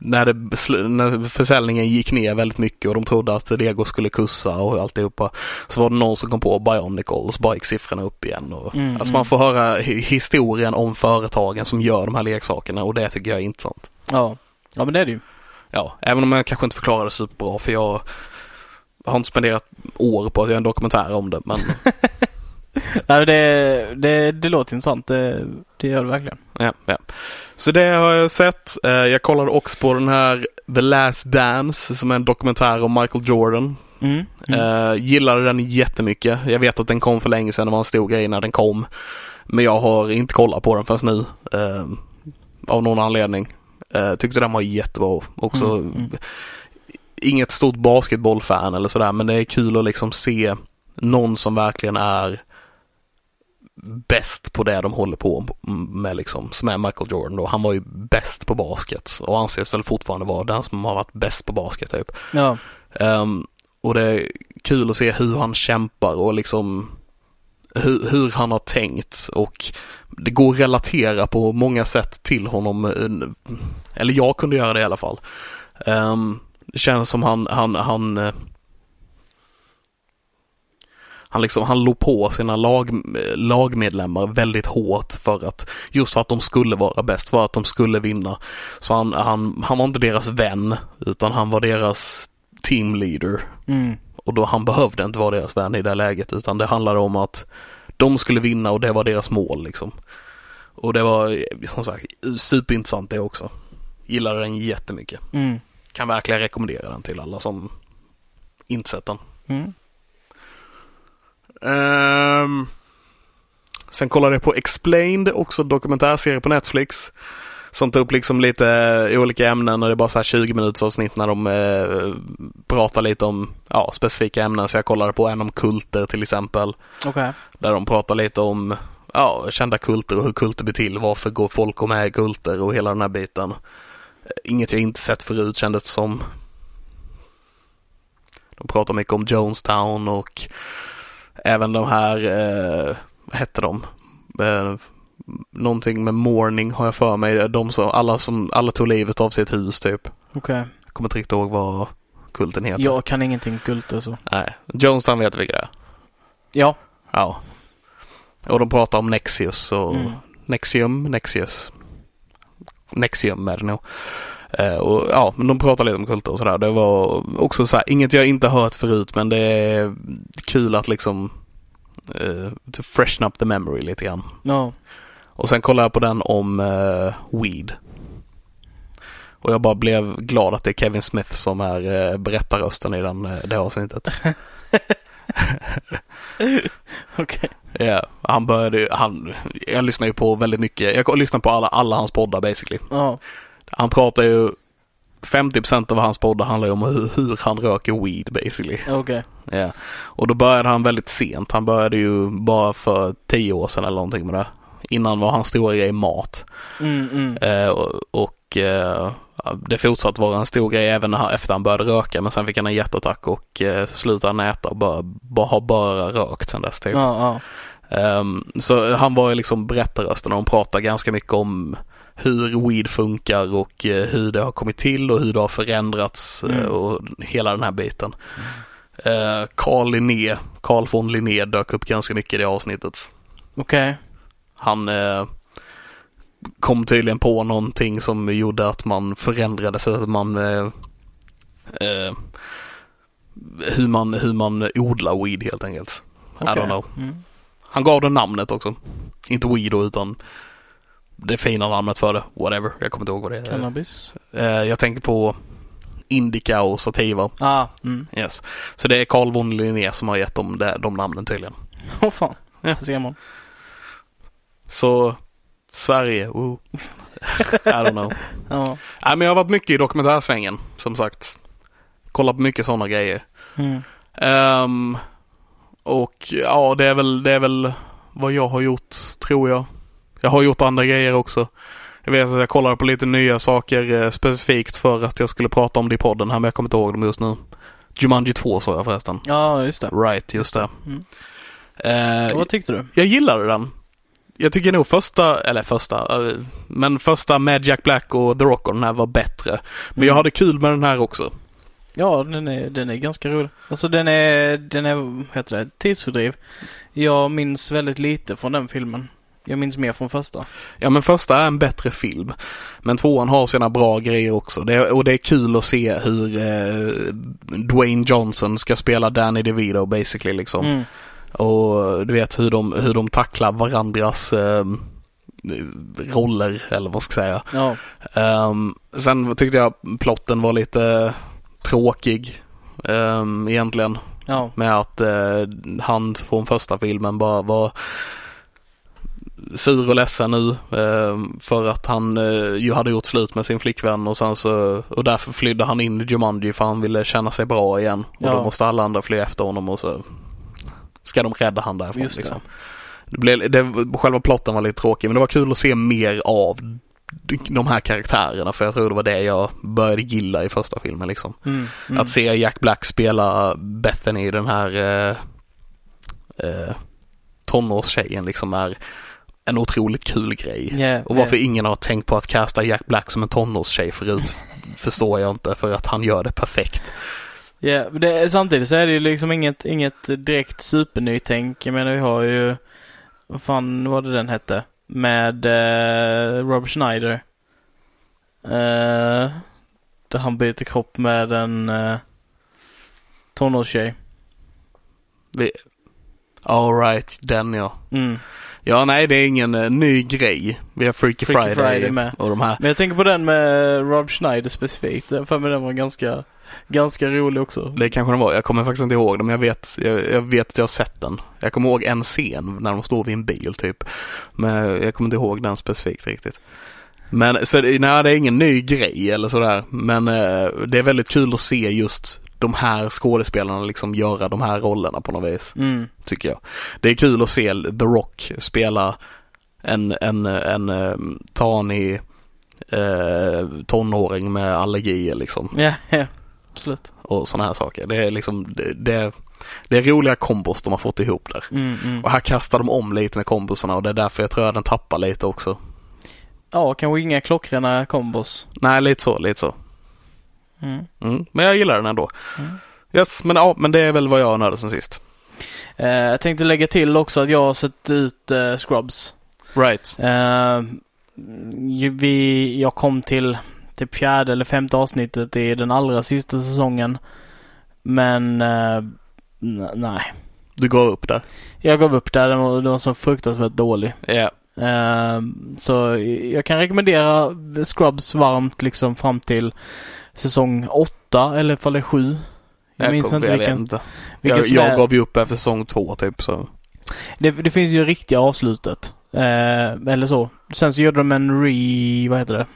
[SPEAKER 2] när, det, besl- när försäljningen gick ner väldigt mycket och de trodde att Lego skulle kussa och alltihopa. Så var det någon som kom på Bionicle och så bara gick siffrorna upp igen. Och,
[SPEAKER 1] Mm,
[SPEAKER 2] alltså
[SPEAKER 1] mm.
[SPEAKER 2] man får höra hi- historien om företagen som gör de här leksakerna och det tycker jag är intressant.
[SPEAKER 1] mm. Ja. Ja men det är det ju.
[SPEAKER 2] Ja, även om jag kanske inte förklarar det superbra för jag har inte spenderat år på att göra en dokumentär om det. *laughs* Men
[SPEAKER 1] Nej, men det, det, det låter intressant. Det, det gör det verkligen.
[SPEAKER 2] ja, ja. Så det har jag sett. Eh, Jag kollade också på den här The Last Dance som är en dokumentär om Michael Jordan
[SPEAKER 1] Mm. Mm.
[SPEAKER 2] Eh, gillade den jättemycket. Jag vet att den kom för länge sedan, det var en stor grej när den kom. Men jag har inte kollat på den förrän nu. eh, av någon anledning. Eh, tyckte den var jättebra också.
[SPEAKER 1] Mm, mm.
[SPEAKER 2] Inget stort basketbollfan eller sådär, men det är kul att liksom se någon som verkligen är bäst på det de håller på med liksom, som är Michael Jordan då. Han var ju bäst på basket och anses väl fortfarande vara den som har varit bäst på basket typ.
[SPEAKER 1] Ja.
[SPEAKER 2] Ehm, och det är kul att se hur han kämpar och liksom hur, hur han har tänkt och det går att relatera på många sätt till honom. eh, Eller jag kunde göra det i alla fall. Ehm, det känns som han, han, han eh, han, liksom, han låg på sina lag, eh, lagmedlemmar väldigt hårt för att just för att de skulle vara bäst, för att de skulle vinna. Så han, han, han var inte deras vän utan han var deras teamleader.
[SPEAKER 1] Mm.
[SPEAKER 2] Och då han behövde inte vara deras vän i det läget utan det handlade om att de skulle vinna och det var deras mål liksom. Och det var eh, som sagt superintressant det också. Gillade den jättemycket.
[SPEAKER 1] Mm.
[SPEAKER 2] Kan verkligen rekommendera den till alla som inte sett den.
[SPEAKER 1] Mm.
[SPEAKER 2] Ehm, sen kollade jag på Explained, också dokumentärserie på Netflix. Som tar upp liksom lite eh, olika ämnen och det är bara så här 20 minuters avsnitt när de eh, pratar lite om ja, specifika ämnen. Så jag kollade på en om kulter till exempel.
[SPEAKER 1] Okej.
[SPEAKER 2] Där de pratar lite om ja, kända kulter och hur kulter blir till. Varför går folk och med i kulter och hela den här biten. Eh, Inget jag inte sett förut kändes som. De pratar mycket om Jonestown och även de här, eh, vad hette de? Eh, någonting med morning har jag för mig. De som, alla, som, alla tog livet av sitt hus typ.
[SPEAKER 1] Okej.
[SPEAKER 2] Jag kommer inte riktigt ihåg vad kulten heter.
[SPEAKER 1] Jag kan ingenting kult och så.
[SPEAKER 2] Nej, Jonestown vet vi vilka det är.
[SPEAKER 1] Ja.
[SPEAKER 2] Ja. Och de pratar om Nexius och
[SPEAKER 1] Mm.
[SPEAKER 2] Nexium, Nexius. Nexium är det nog. Eh, och ja, men de pratar lite om kulter och sådär. Det var också så här, inget jag inte hört förut men det är kul att liksom eh, to freshen up the memory lite grann.
[SPEAKER 1] Ja.
[SPEAKER 2] Och sen kollade jag på den om eh, Weed. Och jag bara blev glad att det är Kevin Smith som är eh, berättarrösten i den, eh, det avsnittet.
[SPEAKER 1] Okej.
[SPEAKER 2] Ja, han började ju- han, jag lyssnar ju på väldigt mycket, jag lyssnar på alla, alla hans poddar basically.
[SPEAKER 1] Ja.
[SPEAKER 2] Han pratar ju, 50% av hans poddar handlar ju om hur, hur han röker weed basically.
[SPEAKER 1] Okej.
[SPEAKER 2] Ja. Och då började han väldigt sent, han började ju bara för 10 år sedan eller någonting med det. Innan var hans stora grej mat.
[SPEAKER 1] Mm, mm.
[SPEAKER 2] Eh, och och eh, det fortsatte vara en stor grej även när han, efter han började röka men sen fick han en hjärtattack och eh, slutade han äta och bara, bara, har bara rökt sen dess typ.
[SPEAKER 1] Ja, ja.
[SPEAKER 2] Ehm, så han var ju liksom berättarrösten och de pratade ganska mycket om hur weed funkar och eh, hur det har kommit till och hur det har förändrats eh,
[SPEAKER 1] Mm.
[SPEAKER 2] och hela den här biten. Eh, Carl Linné, Carl von Linné dök upp ganska mycket i det avsnittet.
[SPEAKER 1] Okej.
[SPEAKER 2] Han eh, kom tydligen på någonting som gjorde att man förändrade sig, att man eh, eh, hur man, hur man odlar weed helt enkelt. I
[SPEAKER 1] okej.
[SPEAKER 2] don't know.
[SPEAKER 1] Mm.
[SPEAKER 2] Han gav det namnet också. Inte weed då, utan det fina namnet för det. Whatever. Jag kommer inte ihåg vad det är.
[SPEAKER 1] Cannabis.
[SPEAKER 2] Eh, jag tänker på Indica och Sativa.
[SPEAKER 1] Ah, mm. *laughs*
[SPEAKER 2] Yes. Så det är Carl von Linné som har gett dem det, de namnen tydligen.
[SPEAKER 1] Åh fan.
[SPEAKER 2] Ja.
[SPEAKER 1] Där ser man.
[SPEAKER 2] Så Sverige, woo. *laughs* I don't know.
[SPEAKER 1] Ja.
[SPEAKER 2] Nej, men jag har varit mycket i dokumentärsvängen, som sagt. Kollat på mycket sådana grejer.
[SPEAKER 1] Mm.
[SPEAKER 2] Ehm, och ja, det är, väl, det är väl vad jag har gjort, tror jag. Jag har gjort andra grejer också. Jag vet att jag kollade på lite nya saker eh, specifikt för att jag skulle prata om det i podden här, men jag kommer inte ihåg dem just nu. Jumanji 2 sa jag förresten.
[SPEAKER 1] Ja, just det.
[SPEAKER 2] Right, just det.
[SPEAKER 1] Mm.
[SPEAKER 2] Eh,
[SPEAKER 1] Och vad tyckte du?
[SPEAKER 2] jag gillade den. Jag tycker nog första, eller första, eh, men första med Jack Black och The Rock och den här var bättre. Men jag
[SPEAKER 1] Mm.
[SPEAKER 2] hade kul med den här också.
[SPEAKER 1] Ja, den är, den är ganska rolig. Alltså den är, den är, vad heter det, tidsfördriv. Jag minns väldigt lite från den filmen. Jag minns mer från första.
[SPEAKER 2] Ja men första är en bättre film. Men tvåan har sina bra grejer också. Det är, och det är kul att se hur eh, Dwayne Johnson ska spela Danny DeVito basically liksom.
[SPEAKER 1] Mm.
[SPEAKER 2] Och du vet hur de, hur de tacklar varandras eh, roller eller vad ska jag säga.
[SPEAKER 1] Ja.
[SPEAKER 2] Ehm, sen tyckte jag plotten var lite tråkig ehm, egentligen.
[SPEAKER 1] Ja.
[SPEAKER 2] Med att eh, han från första filmen bara var sur och ledsen nu eh, för att han eh, ju hade gjort slut med sin flickvän och sen så och därför flydde han in i Jumanji för han ville känna sig bra igen och
[SPEAKER 1] Ja.
[SPEAKER 2] då måste alla andra fly efter honom och så ska de rädda han därifrån
[SPEAKER 1] Just det.
[SPEAKER 2] liksom. Det blev, det, själva plotten var lite tråkig men det var kul att se mer av de här karaktärerna för jag tror det var det jag började gilla i första filmen liksom.
[SPEAKER 1] Mm. Mm.
[SPEAKER 2] Att se Jack Black spela Bethany, den här eh, eh, tonårstjejen, liksom är en otroligt kul grej.
[SPEAKER 1] Yeah,
[SPEAKER 2] Och varför
[SPEAKER 1] yeah.
[SPEAKER 2] ingen har tänkt på att casta Jack Black som en
[SPEAKER 1] *laughs*
[SPEAKER 2] tonårstjej förut förstår jag inte, för att han gör det perfekt.
[SPEAKER 1] Yeah. Det, är- samtidigt så är det ju liksom inget, inget direkt supernytänk. Jag menar vi har ju, vad fan var det den hette? Med eh, Robert Schneider. Eh, där han byter kropp med en eh, tonårstjej.
[SPEAKER 2] All right, den ja.
[SPEAKER 1] Mm.
[SPEAKER 2] Ja, nej, det är ingen eh, ny grej. Vi har Freaky,
[SPEAKER 1] Freaky
[SPEAKER 2] Friday,
[SPEAKER 1] Friday med.
[SPEAKER 2] och de här.
[SPEAKER 1] Men jag tänker på den med Rob Schneider specifikt. Jag har för mig den var ganska, ganska rolig också.
[SPEAKER 2] Det kanske den var. Jag kommer faktiskt inte ihåg det, men jag vet, jag, jag vet att jag har sett den. Jag kommer ihåg en scen när de står vid en bil typ. Men jag kommer inte ihåg den specifikt riktigt. Men så det- nej, det är ingen ny grej eller sådär. Men eh, det är väldigt kul att se just de här skådespelarna liksom göra de här rollerna på något vis,
[SPEAKER 1] Mm.
[SPEAKER 2] tycker jag. Det är kul att se The Rock spela en, en, en eh, tanig eh, tonåring med allergier liksom
[SPEAKER 1] Ja, ja. Absolut.
[SPEAKER 2] och sådana här saker. Det är liksom, det, det, det är roliga kombos de har fått ihop där.
[SPEAKER 1] Mm, mm.
[SPEAKER 2] Och här kastar de om lite med kombosarna och det är därför jag tror att den tappar lite också.
[SPEAKER 1] Ja, kanske inga klockrena kombos.
[SPEAKER 2] Nej, lite så, lite så.
[SPEAKER 1] Mm.
[SPEAKER 2] Mm. Men jag gillar den ändå.
[SPEAKER 1] Mm.
[SPEAKER 2] Yes, men ja, men det är väl vad jag nördade sen sist.
[SPEAKER 1] Eh, jag tänkte lägga till också att jag har sett ut eh, Scrubs.
[SPEAKER 2] Right.
[SPEAKER 1] Eh, ju- vi, jag kom till typ fjärde eller femte avsnittet i den allra sista säsongen. Men eh, n- nej.
[SPEAKER 2] Du går upp där.
[SPEAKER 1] Jag gav upp där. Den var, den var så fruktansvärt dålig.
[SPEAKER 2] Ja,
[SPEAKER 1] Ehm, så jag kan rekommendera Scrubs varmt liksom fram till säsong 8 eller ifall det är 7. Jag, minns
[SPEAKER 2] kom-
[SPEAKER 1] inte
[SPEAKER 2] jag
[SPEAKER 1] vilken.
[SPEAKER 2] Vet inte.
[SPEAKER 1] vilken
[SPEAKER 2] Jag,
[SPEAKER 1] som är-
[SPEAKER 2] jag gav ju upp efter säsong två typ så.
[SPEAKER 1] det, det finns ju riktiga avslutet. Ehm, eller så. Sen så gjorde de en re... Vad heter det?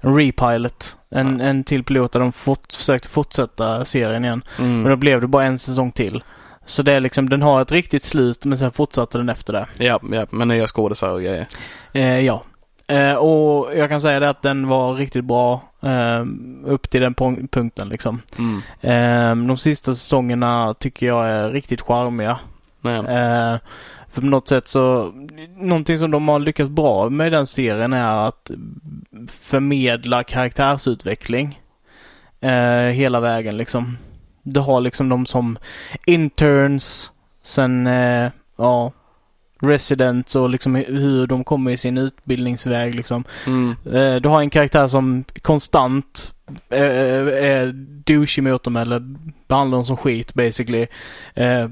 [SPEAKER 1] En repilot. En, en till pilot där de fort, försökte fortsätta serien igen.
[SPEAKER 2] Mm.
[SPEAKER 1] Men då blev det bara en säsong till. Så det är liksom, den har ett riktigt slut men sen fortsatte den efter det.
[SPEAKER 2] Ja, ja, med nya skådisar och grejer.
[SPEAKER 1] Eh, ja. Eh, och jag kan säga det att den var riktigt bra eh, upp till den pon- punkten liksom.
[SPEAKER 2] Mm.
[SPEAKER 1] Eh, de sista säsongerna tycker jag är riktigt charmiga.
[SPEAKER 2] Nej.
[SPEAKER 1] Eh, för på något sätt så, någonting som de har lyckats bra med i den serien är att förmedla karaktärsutveckling eh, hela vägen liksom. Du har liksom de som interns, sen eh, ja, residents och liksom hur de kommer i sin utbildningsväg liksom.
[SPEAKER 2] Mm.
[SPEAKER 1] Eh, Du har en karaktär som konstant eh, är douchig mot dem eller behandlar dem som skit basically. Eh,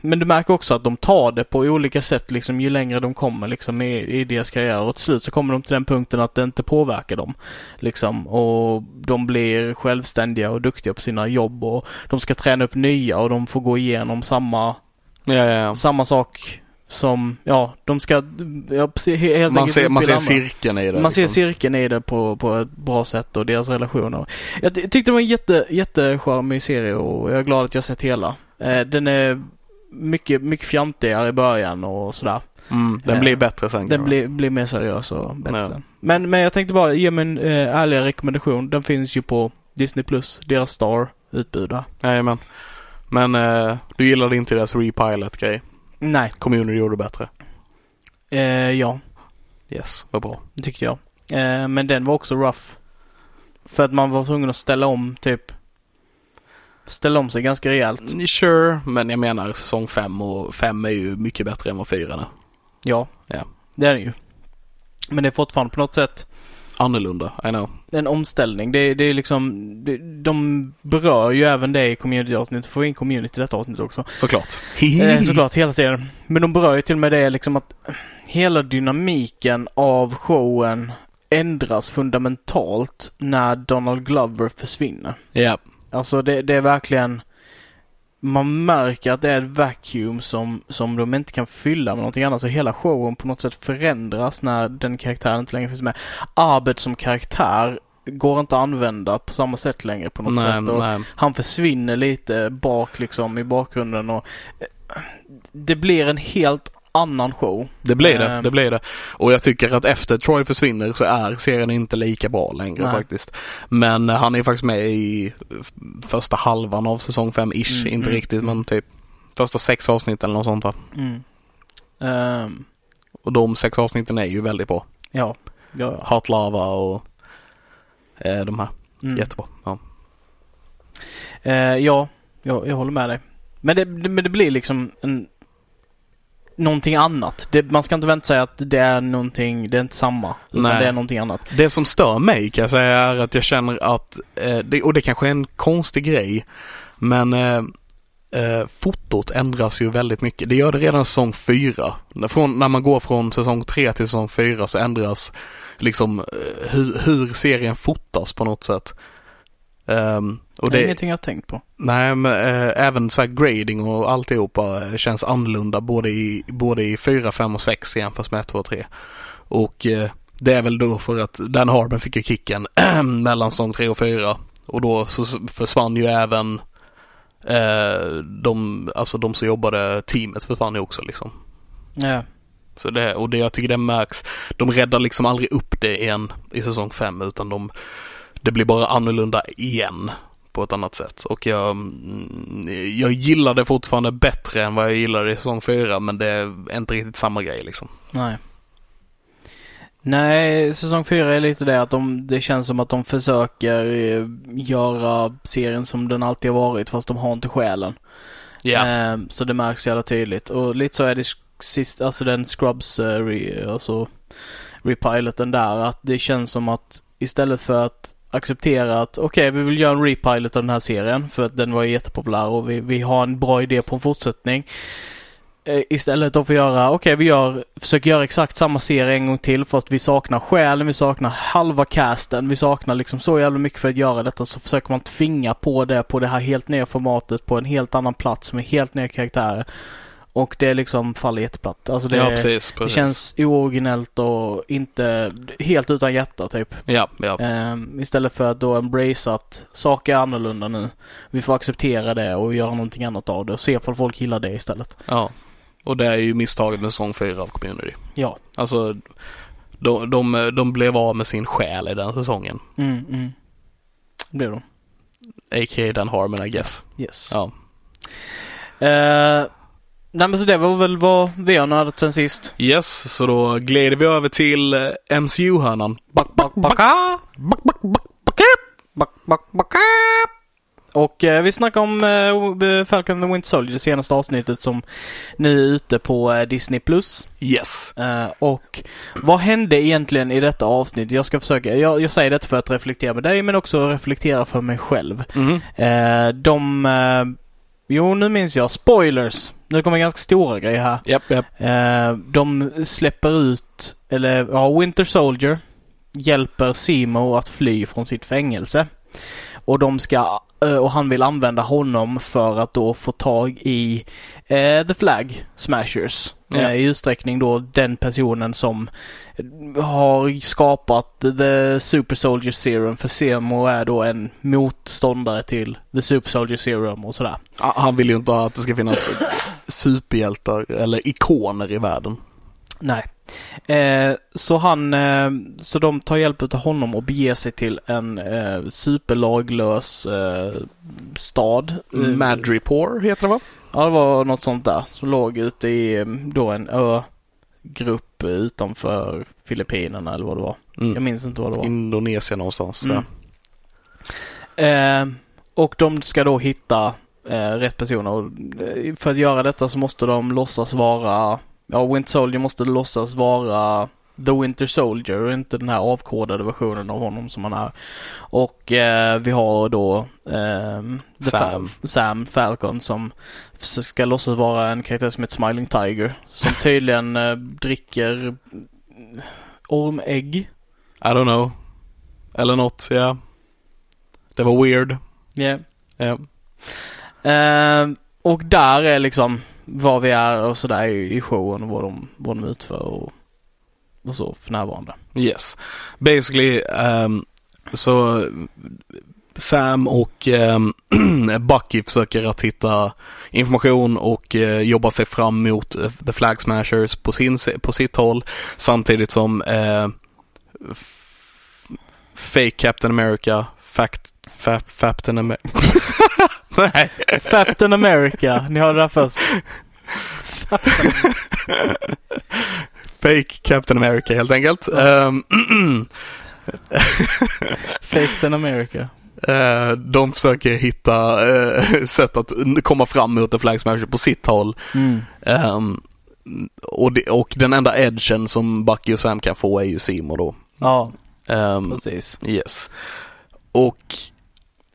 [SPEAKER 1] Men du märker också att de tar det på olika sätt liksom ju längre de kommer liksom i, i deras karriär och till slut så kommer de till den punkten att det inte påverkar dem. Liksom och de blir självständiga och duktiga på sina jobb och de ska träna upp nya och de får gå igenom samma,
[SPEAKER 2] Ja, ja, ja.
[SPEAKER 1] samma sak som, ja, de ska, ja, precis, helt
[SPEAKER 2] Man
[SPEAKER 1] enkelt
[SPEAKER 2] ser, man
[SPEAKER 1] utbilda
[SPEAKER 2] ser
[SPEAKER 1] andra.
[SPEAKER 2] cirkeln i det.
[SPEAKER 1] Man ser
[SPEAKER 2] liksom.
[SPEAKER 1] cirkeln i det på, på ett bra sätt och deras relationer. Jag ty- tyckte det var en jätte, jättecharmig serie och jag är glad att jag sett hela. Eh, den är mycket, mycket fjantigare i början och sådär.
[SPEAKER 2] Mm. Den
[SPEAKER 1] Eh,
[SPEAKER 2] blir bättre sen.
[SPEAKER 1] Den
[SPEAKER 2] kanske.
[SPEAKER 1] blir, blir mer seriös och bättre.
[SPEAKER 2] Ja.
[SPEAKER 1] Men, men jag tänkte bara ge mig en eh, ärlig rekommendation. Den finns ju på Disney Plus, deras Star-utbud där.
[SPEAKER 2] Jajamän. Men eh, du gillade inte deras repilot-grej.
[SPEAKER 1] Nej,
[SPEAKER 2] Kommunen gjorde bättre.
[SPEAKER 1] eh, ja,
[SPEAKER 2] Yes, vad bra.
[SPEAKER 1] det tyckte jag. Eh, men den var också rough. För att man var tvungen att ställa om typ. Ställa om sig ganska rejält.
[SPEAKER 2] Mm, Sure, men jag menar säsong 5 och 5 är ju mycket bättre än vad 4 är.
[SPEAKER 1] Ja.
[SPEAKER 2] Ja.
[SPEAKER 1] Det är det ju. Men det är fortfarande på något sätt
[SPEAKER 2] Annorlunda, I know.
[SPEAKER 1] en omställning. Det, det är liksom, det, de berör ju även det i community-avsnittet. Får vi in community i detta avsnitt också.
[SPEAKER 2] *laughs* Såklart.
[SPEAKER 1] Eh, såklart, hela tiden. Men de berör ju till och med det liksom att hela dynamiken av showen ändras fundamentalt när Donald Glover försvinner.
[SPEAKER 2] Ja,
[SPEAKER 1] Alltså det, det är verkligen man märker att det är ett vacuum som, som de inte kan fylla med någonting annat. Så hela showen på något sätt förändras när den karaktären inte längre finns med. Arbet som karaktär går inte att använda på samma sätt längre på något
[SPEAKER 2] nej,
[SPEAKER 1] sätt. Och
[SPEAKER 2] nej.
[SPEAKER 1] Han försvinner lite bak liksom i bakgrunden och eh, det blir en helt annan show.
[SPEAKER 2] Det blir det,
[SPEAKER 1] Ehm.
[SPEAKER 2] det blir det. Och jag tycker att efter Troy försvinner så är serien inte lika bra längre
[SPEAKER 1] Nej.
[SPEAKER 2] faktiskt. Men eh, han är faktiskt med i f- första halvan av säsong 5-ish,
[SPEAKER 1] Mm,
[SPEAKER 2] inte
[SPEAKER 1] mm,
[SPEAKER 2] riktigt
[SPEAKER 1] mm.
[SPEAKER 2] men typ första sex avsnitt eller något sånt va.
[SPEAKER 1] Mm. Ehm,
[SPEAKER 2] Och de sex avsnitten är ju väldigt bra.
[SPEAKER 1] ja, ja, ja.
[SPEAKER 2] Hot Lava och eh, de här.
[SPEAKER 1] Mm.
[SPEAKER 2] Jättebra. Ja.
[SPEAKER 1] Eh, ja, jag, jag håller med dig. Men det, det, men det blir liksom en, någonting annat. Det, man ska inte vänta sig att det är någonting, det är inte samma. Utan
[SPEAKER 2] Nej.
[SPEAKER 1] det är någonting annat.
[SPEAKER 2] Det som stör mig kan jag säga är att jag känner att, eh, det, och det kanske är en konstig grej, men eh, eh, fotot ändras ju väldigt mycket. Det gör det redan säsong fyra. När- Från, när man går från säsong tre till säsong fyra så ändras liksom eh, hur, hur serien fotas på något sätt. Ehm, och
[SPEAKER 1] det är
[SPEAKER 2] det,
[SPEAKER 1] ingenting jag har tänkt på.
[SPEAKER 2] nej, men, eh, även så här grading och alltihopa eh, känns annorlunda både i, både i 4, 5 och 6 jämfört med 1, 2 och 3. Och eh, det är väl då för att Dan Harmon fick ju kicken *clears throat* mellan säsong 3 och 4. Och då så s- försvann ju även eh, de, alltså de som jobbade, teamet försvann ju också liksom.
[SPEAKER 1] Ja.
[SPEAKER 2] Så det, och det jag tycker det märks, de räddar liksom aldrig upp det igen i säsong 5 utan de, det blir bara annorlunda igen på ett annat sätt. Och jag, mm, jag gillar det fortfarande bättre än vad jag gillade i säsong 4 men det är inte riktigt samma grej liksom.
[SPEAKER 1] Nej. Nej, säsong fyra är lite det att de, det känns som att de försöker eh, göra serien som den alltid har varit fast de har inte själen. Ehm, så det märks jävla tydligt. Och lite så är det sk- sist, alltså den Scrubs, eh, re, alltså repiloten där, att det känns som att istället för att acceptera att okej, vi vill göra en repilot av den här serien för att den var jättepopulär och vi, vi har en bra idé på en fortsättning. Eh, Istället då för att göra, okej vi gör, försöker göra exakt samma serie en gång till fast vi saknar själen, vi saknar halva casten, vi saknar liksom så jävla mycket för att göra detta så försöker man tvinga på det på det här helt nya formatet på en helt annan plats med helt nya karaktärer. Och det liksom faller jätteplatt. Alltså det,
[SPEAKER 2] ja, precis.
[SPEAKER 1] det
[SPEAKER 2] precis.
[SPEAKER 1] känns ooriginellt och inte helt utan hjärta typ.
[SPEAKER 2] Ja, ja.
[SPEAKER 1] Ehm, istället för att då embracea att saker är annorlunda nu. Vi får acceptera det och göra någonting annat av det och se om folk gillar det istället.
[SPEAKER 2] ja. Och det är ju misstaget med säsong 4 av Community.
[SPEAKER 1] Ja.
[SPEAKER 2] Alltså, de, de, de blev av med sin själ i den säsongen.
[SPEAKER 1] Mm, mm. Det blir de.
[SPEAKER 2] A.k.a. Dan Harmon, I guess.
[SPEAKER 1] Yes.
[SPEAKER 2] Ja.
[SPEAKER 1] Eh, nej men så det var väl vad vi har nördat sen sist.
[SPEAKER 2] Yes, så då glider vi över till eh, MCU-hörnan.
[SPEAKER 1] Back, back, back, Och eh, vi snackade om eh, Falcon and the Winter Soldier, det senaste avsnittet som nu är ute på eh, Disney+. Plus.
[SPEAKER 2] Yes.
[SPEAKER 1] Eh, och vad hände egentligen i detta avsnitt? Jag ska försöka, jag, jag säger detta för att reflektera med dig men också reflektera för mig själv.
[SPEAKER 2] Mhm.
[SPEAKER 1] Eh, de, eh, jo nu minns jag, spoilers! Nu kommer ganska stora grejer här.
[SPEAKER 2] Japp, japp.
[SPEAKER 1] Eh, de släpper ut, eller ja, Winter Soldier hjälper Simo att fly från sitt fängelse. Och de ska, eh, och han vill använda honom för att då få tag i eh, The Flag Smashers.
[SPEAKER 2] Ja.
[SPEAKER 1] Eh, I utsträckning då den personen som har skapat The Super Soldier Serum för Simo är då en motståndare till The Super Soldier Serum och sådär.
[SPEAKER 2] Ah, Han vill ju inte att det ska finnas superhjältar eller ikoner i världen.
[SPEAKER 1] Nej. Eh, så han, eh, så de tar hjälp av honom och beger sig till en eh, superlaglös eh, stad.
[SPEAKER 2] Mm.
[SPEAKER 1] Eh,
[SPEAKER 2] Madripoor heter det va?
[SPEAKER 1] Ja, det var något sånt där som låg ute i eh, då en ögrupp utanför Filippinerna eller vad det var. Jag
[SPEAKER 2] Mm.
[SPEAKER 1] minns inte vad det var.
[SPEAKER 2] Indonesien någonstans.
[SPEAKER 1] Mm.
[SPEAKER 2] där.
[SPEAKER 1] Eh, och de ska då hitta eh, rätt personer. Och, eh, för att göra detta så måste de låtsas vara, ja Winter Soldier måste låtsas vara The Winter Soldier och inte den här avkodade versionen av honom som han är. Och eh, vi har då ehm, The
[SPEAKER 2] Sam.
[SPEAKER 1] Fa- Sam Falcon som s- ska låtsas vara en karaktär som heter Smiling Tiger. Som tydligen eh, dricker ormägg.
[SPEAKER 2] I don't know. Eller något, ja. Det var weird.
[SPEAKER 1] Yeah.
[SPEAKER 2] Ja.
[SPEAKER 1] Ehm, och där är liksom vad vi är och sådär i i showen och vad de, vad de utför och, och så för närvarande.
[SPEAKER 2] Yes. Basically, ehm, så Sam och ehm, *clears throat* Bucky försöker att hitta information och eh, jobba sig fram mot eh, The Flag Smashers på, sin, si- på sitt håll samtidigt som eh, f- Fake Captain America, Fact, fa- Captain America. *laughs* Nej.
[SPEAKER 1] Captain America, ni hörde det där först.
[SPEAKER 2] *laughs* Fake Captain America helt enkelt. Ehm, *clears throat*
[SPEAKER 1] Captain America.
[SPEAKER 2] Eh, de försöker hitta eh, *laughs* sätt att komma fram mot en flag smasher på sitt håll.
[SPEAKER 1] Mm.
[SPEAKER 2] Ehm, och, det, och den enda edgen som Bucky och Sam kan få är ju Seymour då.
[SPEAKER 1] Ja,
[SPEAKER 2] Ehm,
[SPEAKER 1] precis.
[SPEAKER 2] yes. Och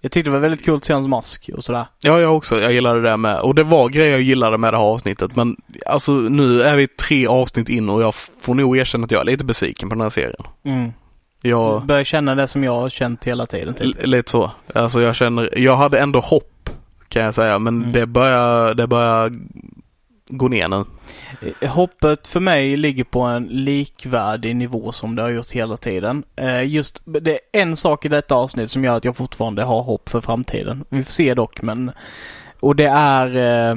[SPEAKER 1] Jag tyckte det var väldigt coolt att se hans mask och sådär.
[SPEAKER 2] Ja, jag också. Jag gillade det med. Och det var grejer jag gillade med det här avsnittet. Men alltså nu är vi tre avsnitt in och jag får nog erkänna att jag är lite besviken på den här serien.
[SPEAKER 1] Mm.
[SPEAKER 2] Jag...
[SPEAKER 1] Börjar känna det som jag har känt hela tiden typ.
[SPEAKER 2] L- lite så. Alltså jag känner, jag hade ändå hopp kan jag säga, men
[SPEAKER 1] Mm.
[SPEAKER 2] det börjar, det börjar gå ner nu.
[SPEAKER 1] Eh, Hoppet för mig ligger på en likvärdig nivå som det har gjort hela tiden. Eh, Just, det är en sak i detta avsnitt som gör att jag fortfarande har hopp för framtiden. Vi får se dock men... Och det är eh,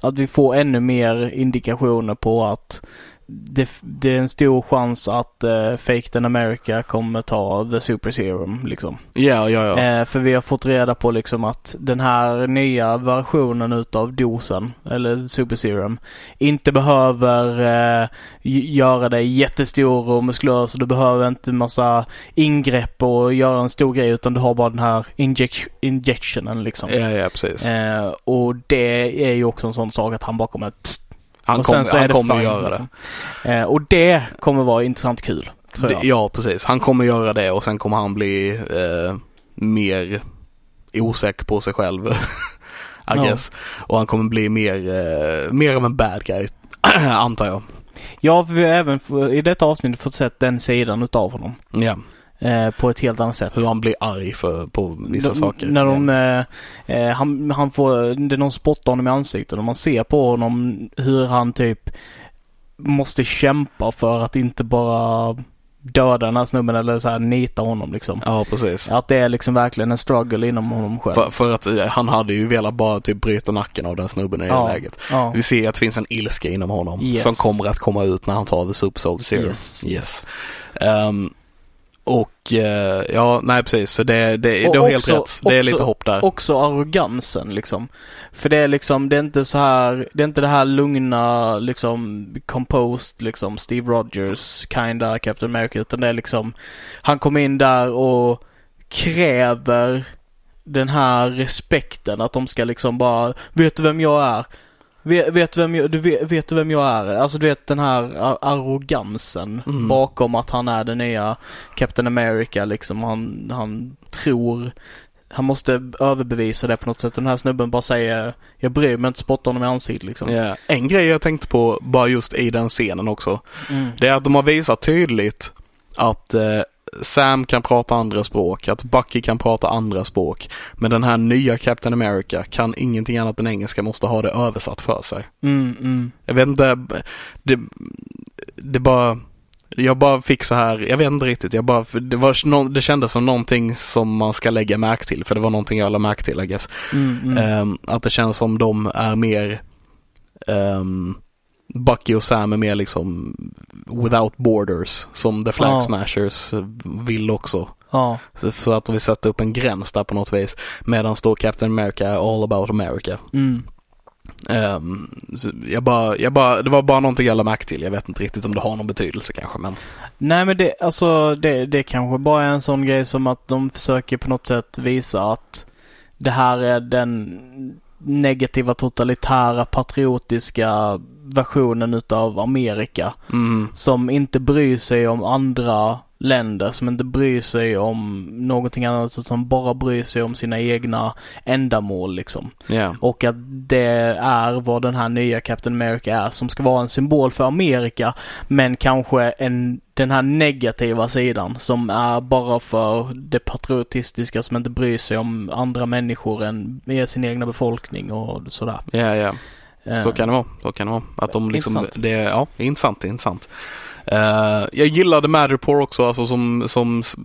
[SPEAKER 1] att vi får ännu mer indikationer på att det, det är en stor chans att eh, Fake den America kommer ta The Super Serum liksom.
[SPEAKER 2] Ja, ja, ja.
[SPEAKER 1] Eh, för vi har fått reda på liksom att den här nya versionen utav dosen, eller Super Serum, inte behöver eh, gö- göra dig jättestor och muskulös och du behöver inte massa ingrepp och göra en stor grej utan du har bara den här injec- injectionen liksom.
[SPEAKER 2] Ja, ja, precis.
[SPEAKER 1] Eh, och det är ju också en sån sak att han bara kommer pst,
[SPEAKER 2] Han
[SPEAKER 1] och sen
[SPEAKER 2] kommer,
[SPEAKER 1] så är
[SPEAKER 2] han
[SPEAKER 1] det
[SPEAKER 2] kommer
[SPEAKER 1] fine,
[SPEAKER 2] göra det.
[SPEAKER 1] liksom. Eh, och det kommer vara intressant kul, tror
[SPEAKER 2] det.
[SPEAKER 1] jag.
[SPEAKER 2] Ja, precis. Han kommer göra det och sen kommer han bli eh, mer osäker på sig själv. *laughs* I
[SPEAKER 1] Ja.
[SPEAKER 2] guess. Och han kommer bli mer, eh, mer av en bad guy, *clears throat* antar jag.
[SPEAKER 1] Ja, för vi har även f- i detta avsnitt fått sett den sidan utav honom.
[SPEAKER 2] Ja.
[SPEAKER 1] Eh, eh, på ett helt annat sätt.
[SPEAKER 2] Hur han blir arg för, på vissa
[SPEAKER 1] De-
[SPEAKER 2] saker.
[SPEAKER 1] När de, eh, eh, han, han får, det är någon spottar honom i ansiktet och man ser på honom hur han typ måste kämpa för att inte bara döda den här snubben eller så här nita honom liksom.
[SPEAKER 2] Ja, precis.
[SPEAKER 1] Att det är liksom verkligen en struggle inom honom själv.
[SPEAKER 2] För, för att eh, han hade ju velat bara typ bryta nacken av den snubben i
[SPEAKER 1] Ja.
[SPEAKER 2] det läget.
[SPEAKER 1] ja.
[SPEAKER 2] Vi ser att det finns en ilska inom honom
[SPEAKER 1] Yes.
[SPEAKER 2] som kommer att komma ut när han tar The Super Soldier Serum.
[SPEAKER 1] Yes.
[SPEAKER 2] yes. Ehm, och eh, ja, nej precis. Så det, det,
[SPEAKER 1] Och
[SPEAKER 2] du har helt
[SPEAKER 1] också-
[SPEAKER 2] rätt. Det är
[SPEAKER 1] också-
[SPEAKER 2] lite hopp där.
[SPEAKER 1] Också arrogansen liksom. För det är liksom, det är inte så här, det är inte det här lugna liksom composed liksom Steve Rogers kinda Captain America utan det är liksom, han kom in där och kräver den här respekten att de ska liksom bara, vet du vem jag är? Vet, vet, du vem jag, du vet, vet du vem jag är? Alltså du vet den här ar- arrogansen
[SPEAKER 2] Mm.
[SPEAKER 1] bakom att han är den nya Captain America liksom. Han, han tror han måste överbevisa det på något sätt. Den här snubben bara säger Jag bryr mig inte, spotta honom i ansiktet liksom.
[SPEAKER 2] Ja. En grej jag tänkt på bara just i den scenen också.
[SPEAKER 1] Mm.
[SPEAKER 2] Det är att de har visat tydligt att eh, Sam kan prata andra språk, att Bucky kan prata andra språk. Men den här nya Captain America kan ingenting annat än engelska, måste ha det översatt för sig.
[SPEAKER 1] Mm, mm.
[SPEAKER 2] Jag vet inte, det, det bara, jag bara fick så här, jag vet inte riktigt, jag bara, det, var, nå- det kändes som någonting som man ska lägga märke till, för det var någonting jag lade märke till, I guess.
[SPEAKER 1] Mm, mm.
[SPEAKER 2] Ehm, att det känns som de är mer ehm, Bucky och Sam är mer liksom without borders som The Flag
[SPEAKER 1] Ja.
[SPEAKER 2] Smashers vill också.
[SPEAKER 1] ja.
[SPEAKER 2] Så för att de vill sätta upp en gräns där på något vis. Medan då Captain America är all about America.
[SPEAKER 1] Mm.
[SPEAKER 2] Ehm, så jag bara, jag bara, det var bara någonting jag lade märke till. Jag vet inte riktigt om det har någon betydelse kanske men.
[SPEAKER 1] Nej men det, alltså det, det kanske bara är en sån grej som att de försöker på något sätt visa att det här är den negativa totalitära patriotiska versionen utav Amerika.
[SPEAKER 2] Mm.
[SPEAKER 1] Som inte bryr sig om andra länder, som inte bryr sig om någonting annat utan som bara bryr sig om sina egna ändamål liksom.
[SPEAKER 2] ja
[SPEAKER 1] Och att det är vad den här nya Captain America är som ska vara en symbol för Amerika men kanske en, den här negativa sidan som är bara för det patriotistiska som inte bryr sig om andra människor än med sin egna befolkning och sådär.
[SPEAKER 2] ja ja Så
[SPEAKER 1] Eh,
[SPEAKER 2] kan det vara. Så kan det vara. Att de liksom,
[SPEAKER 1] Intressant.
[SPEAKER 2] Det, ja, intressant, intressant. Eh, jag gillade Madripoor också, alltså som, som s-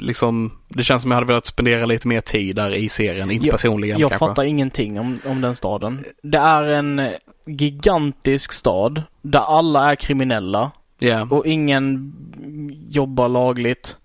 [SPEAKER 2] liksom, det känns som jag hade velat spendera lite mer tid där i serien, inte personligen
[SPEAKER 1] Jag
[SPEAKER 2] kanske.
[SPEAKER 1] fattar ingenting om, om den staden. Det är en gigantisk stad där alla är kriminella
[SPEAKER 2] Ja.
[SPEAKER 1] och ingen jobbar lagligt.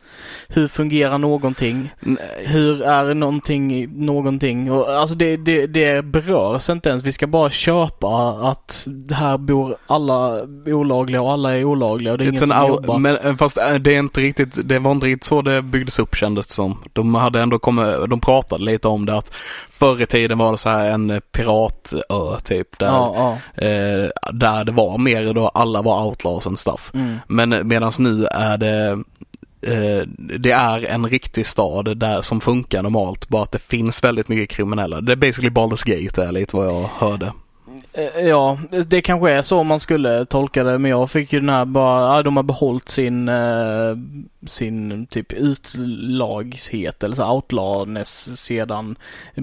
[SPEAKER 1] Hur fungerar någonting?
[SPEAKER 2] Nej.
[SPEAKER 1] Hur är någonting någonting? Och, alltså det, det, det berörs inte ens. Vi ska bara köpa att här bor alla olagliga och alla är olagliga och det är
[SPEAKER 2] It's
[SPEAKER 1] ingen
[SPEAKER 2] an
[SPEAKER 1] som
[SPEAKER 2] hour,
[SPEAKER 1] jobbar.
[SPEAKER 2] men eh, fast eh, det är inte riktigt, det var inte riktigt så det byggdes upp kändes det som. De hade ändå kommit, de pratade lite om det att förr i tiden var det så här en eh, piratö typ där,
[SPEAKER 1] Ja, ja.
[SPEAKER 2] eh, där det var mer då alla var outlaws and stuff.
[SPEAKER 1] Mm.
[SPEAKER 2] Men medan nu är det eh, det är en riktig stad där som funkar normalt, bara att det finns väldigt mycket kriminella. Det är basically Baldur's Gate är lite vad jag hörde.
[SPEAKER 1] Eh, Ja, det kanske är så man skulle tolka det men jag fick ju den här bara, ja, de har behållit sin, eh, sin typ utlagshet eller så outlawness sedan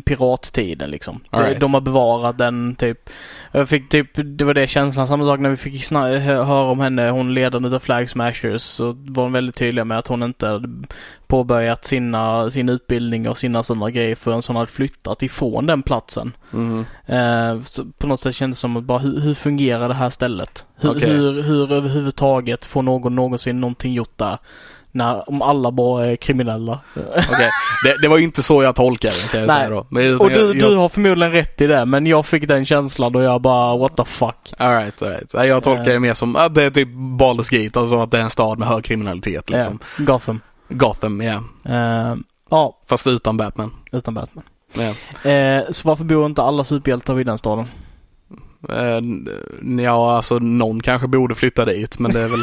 [SPEAKER 1] pirattiden liksom.
[SPEAKER 2] All
[SPEAKER 1] De-
[SPEAKER 2] right.
[SPEAKER 1] De har bevarat den typ. Jag fick typ, det var det känslan, samma sak när vi fick sna- hö- höra om henne, hon ledande av Flag Smashers så var hon väldigt tydlig med att hon inte hade påbörjat sina, sin utbildning och sina sådana grejer förrän hon hade flyttat ifrån den platsen. Eh, så på något sätt kändes det som att bara hur, hur fungerar det här stället? Hur,
[SPEAKER 2] Okej.
[SPEAKER 1] hur, hur överhuvudtaget får någon någonsin någonting gjort där? När, om alla bara är kriminella.
[SPEAKER 2] Okej. Det, det var ju inte så jag tolkade det kan jag
[SPEAKER 1] Nej.
[SPEAKER 2] säga då. Men jag,
[SPEAKER 1] och du,
[SPEAKER 2] jag,
[SPEAKER 1] du har förmodligen rätt i det men jag fick den känslan och jag bara what the fuck.
[SPEAKER 2] All right, all right. Nej, Jag tolkar det mer som att det är typ Baldur's Gate, alltså att det är en stad med hög kriminalitet liksom.
[SPEAKER 1] Eh, Gotham.
[SPEAKER 2] Gotham, ja.
[SPEAKER 1] Eh, ja,
[SPEAKER 2] Fast utan Batman.
[SPEAKER 1] utan Batman.
[SPEAKER 2] Ja.
[SPEAKER 1] Eh, så varför bor inte alla superhjältar i den staden?
[SPEAKER 2] Eh, n- ja, alltså någon kanske borde flytta dit, men det är väl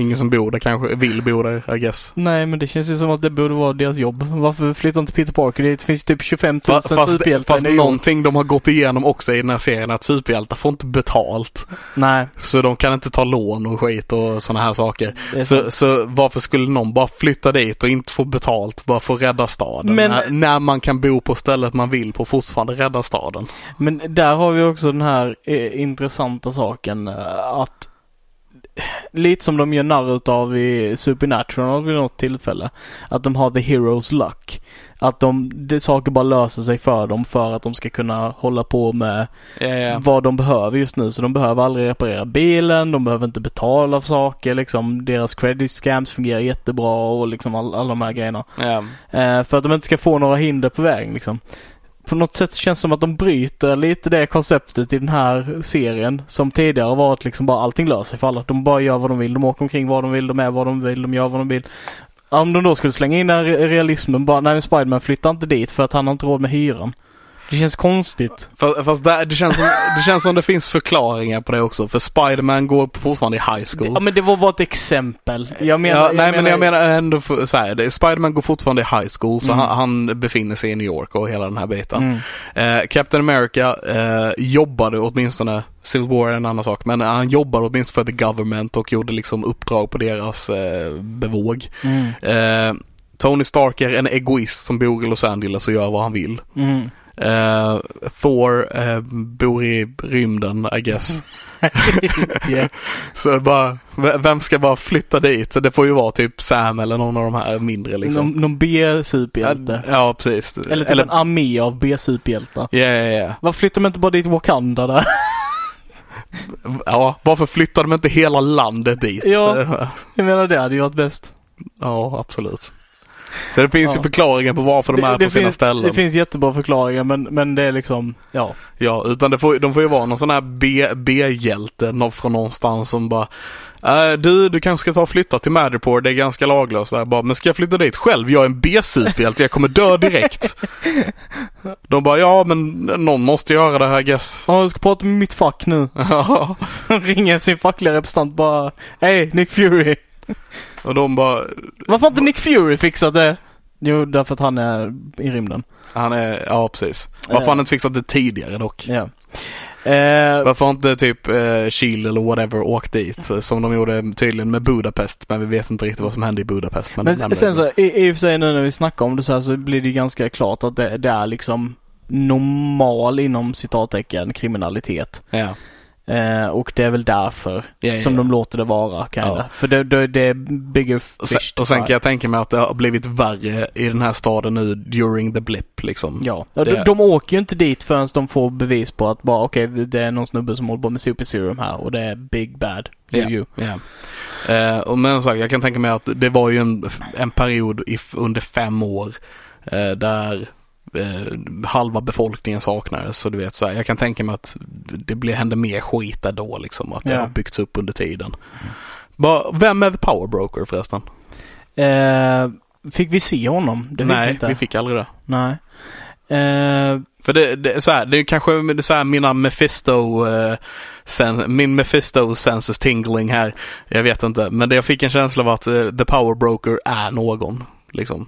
[SPEAKER 2] Ingen som bor där kanske, vill bo där I guess.
[SPEAKER 1] Nej, men det känns ju som att det borde vara deras jobb. Varför flyttar inte Peter Parker dit? Det finns ju typ 25 000
[SPEAKER 2] Fast, fast,
[SPEAKER 1] superhjältar
[SPEAKER 2] fast
[SPEAKER 1] i New York.
[SPEAKER 2] någonting de har gått igenom också i den här serien att superhjältar får inte betalt.
[SPEAKER 1] Nej.
[SPEAKER 2] Så de kan inte ta lån och skit och sådana här saker.
[SPEAKER 1] det är
[SPEAKER 2] Så, så varför skulle någon bara flytta dit och inte få betalt bara för att rädda staden?
[SPEAKER 1] Men-
[SPEAKER 2] när, när man kan bo på stället man vill på och fortfarande rädda staden.
[SPEAKER 1] Men där har vi också den här eh, intressanta saken eh, att lite som de gör narr utav i Supernatural vid något tillfälle. Att de har the hero's luck. Att de, det, saker bara löser sig för dem för att de ska kunna hålla på med vad de behöver just nu. Så de behöver aldrig reparera bilen, de behöver inte betala för saker liksom. Deras credit scams fungerar jättebra och liksom all, alla de här grejerna.
[SPEAKER 2] Ja.
[SPEAKER 1] Eh, för att de inte ska få några hinder på vägen liksom. På något sätt känns det som att de bryter lite det konceptet i den här serien som tidigare har varit liksom bara allting löser sig för alla. De bara gör vad de vill. De åker omkring vad de vill. De är vad de vill. De gör vad de vill. Om de då skulle slänga in den här realismen bara, nej men Spiderman flyttar inte dit för att han har inte råd med hyran. Det känns konstigt.
[SPEAKER 2] Fast, fast där, det, känns som, det känns som det finns förklaringar på det också. För Spiderman går fortfarande i high school.
[SPEAKER 1] Ja men det var bara ett exempel. Jag menar...
[SPEAKER 2] ja, nej men jag menar ändå för, så här, det, Spiderman går fortfarande i high school så
[SPEAKER 1] Mm.
[SPEAKER 2] han, han befinner sig i New York och hela den här biten.
[SPEAKER 1] Mm.
[SPEAKER 2] Eh, Captain America eh, jobbade åtminstone, Civil War är en annan sak, men han jobbade åtminstone för the government och gjorde liksom uppdrag på deras eh, bevåg.
[SPEAKER 1] Mm.
[SPEAKER 2] Eh, Tony Stark är en egoist som bor i Los Angeles och gör vad han vill. *laughs*
[SPEAKER 1] Mm.
[SPEAKER 2] Eh, Thor eh, bor i rymden, I
[SPEAKER 1] Mm.
[SPEAKER 2] guess.
[SPEAKER 1] Ja.
[SPEAKER 2] *laughs* Så bara, v- vem ska bara flytta dit? Så det får ju vara typ Sam eller någon av de här mindre liksom.
[SPEAKER 1] Någon, någon B-superhjälte.
[SPEAKER 2] Ja, precis.
[SPEAKER 1] Eller typ en armé av B-superhjältar.
[SPEAKER 2] Ja, ja, ja.
[SPEAKER 1] Varför flyttar man inte bara dit Wakanda där? *laughs*
[SPEAKER 2] Ja, varför flyttar de inte hela landet dit?
[SPEAKER 1] Ja.
[SPEAKER 2] *laughs*
[SPEAKER 1] Jag menar det hade ju varit bäst.
[SPEAKER 2] Ja, absolut. Så det finns
[SPEAKER 1] Ja.
[SPEAKER 2] ju förklaringar på varför de är på sina
[SPEAKER 1] finns,
[SPEAKER 2] ställen.
[SPEAKER 1] det finns jättebra förklaringar men, men det är liksom, ja.
[SPEAKER 2] Ja, utan det får, de får ju vara någon sån här B- B-hjälte någon från någonstans som bara "Eh, du, du kanske ska ta och flytta till Madripoor, det är ganska laglöst där. Bara, men ska jag flytta dit själv? Jag är en B-superhjälte, jag kommer
[SPEAKER 1] *laughs*
[SPEAKER 2] dö direkt. De bara, ja men någon måste göra det här I guess. *laughs*
[SPEAKER 1] Ja, jag ska prata med mitt fack nu. *laughs*
[SPEAKER 2] Ja.
[SPEAKER 1] Ringer sin fackliga representant bara. Hej Nick Fury.
[SPEAKER 2] och de bara,
[SPEAKER 1] Varför har inte Nick Fury fixat det? Jo, därför att han är i rymden. Eh,
[SPEAKER 2] han är, ja precis. Varför har han inte fixat det tidigare dock?
[SPEAKER 1] Ja. Eh,
[SPEAKER 2] Varför har inte typ eh, Chile eller whatever åkt dit? eh, Som de gjorde tydligen med Budapest, men vi vet inte riktigt vad som hände i Budapest. Men, de
[SPEAKER 1] men
[SPEAKER 2] nämnde
[SPEAKER 1] sen
[SPEAKER 2] det.
[SPEAKER 1] så, i, i och för sig nu när vi snackar om det så här så blir det ju ganska klart att det, det är liksom normal inom citattecken kriminalitet.
[SPEAKER 2] Ja. Ja,
[SPEAKER 1] Eh, och det är väl därför
[SPEAKER 2] ja, ja.
[SPEAKER 1] Som de låter det vara kanske.
[SPEAKER 2] Eh, Ja.
[SPEAKER 1] För det, det, det är bigger fish
[SPEAKER 2] Och sen,
[SPEAKER 1] to
[SPEAKER 2] och sen
[SPEAKER 1] fry.
[SPEAKER 2] kan jag tänka mig att det har blivit värre i den här staden nu during the blip liksom.
[SPEAKER 1] Ja. ja
[SPEAKER 2] det-
[SPEAKER 1] de, de åker ju inte dit förrän de får bevis på att bara okej det är någon snubbe som håller på med super serum här och det är big bad.
[SPEAKER 2] Ja.
[SPEAKER 1] Yeah. You.
[SPEAKER 2] Ja. Eh, och men som sagt, jag kan tänka mig att det var ju en, en period i, under fem år eh, där eh, halva befolkningen saknades. Så du vet så här, jag kan tänka mig att det blev, hände mer skit där då liksom. Att det
[SPEAKER 1] Ja.
[SPEAKER 2] har byggts upp under tiden. Bara, vem är the power broker förresten?
[SPEAKER 1] Eh, fick vi se honom? Det fick
[SPEAKER 2] Nej,
[SPEAKER 1] vi inte.
[SPEAKER 2] vi fick aldrig det.
[SPEAKER 1] Nej. Eh,
[SPEAKER 2] För det, det, är så här, det är kanske det är så här mina Mephisto, eh, sen, min Mephisto senses tingling här. Jag vet inte, men det, jag fick en känsla av att eh, The Power Broker är någon. Liksom.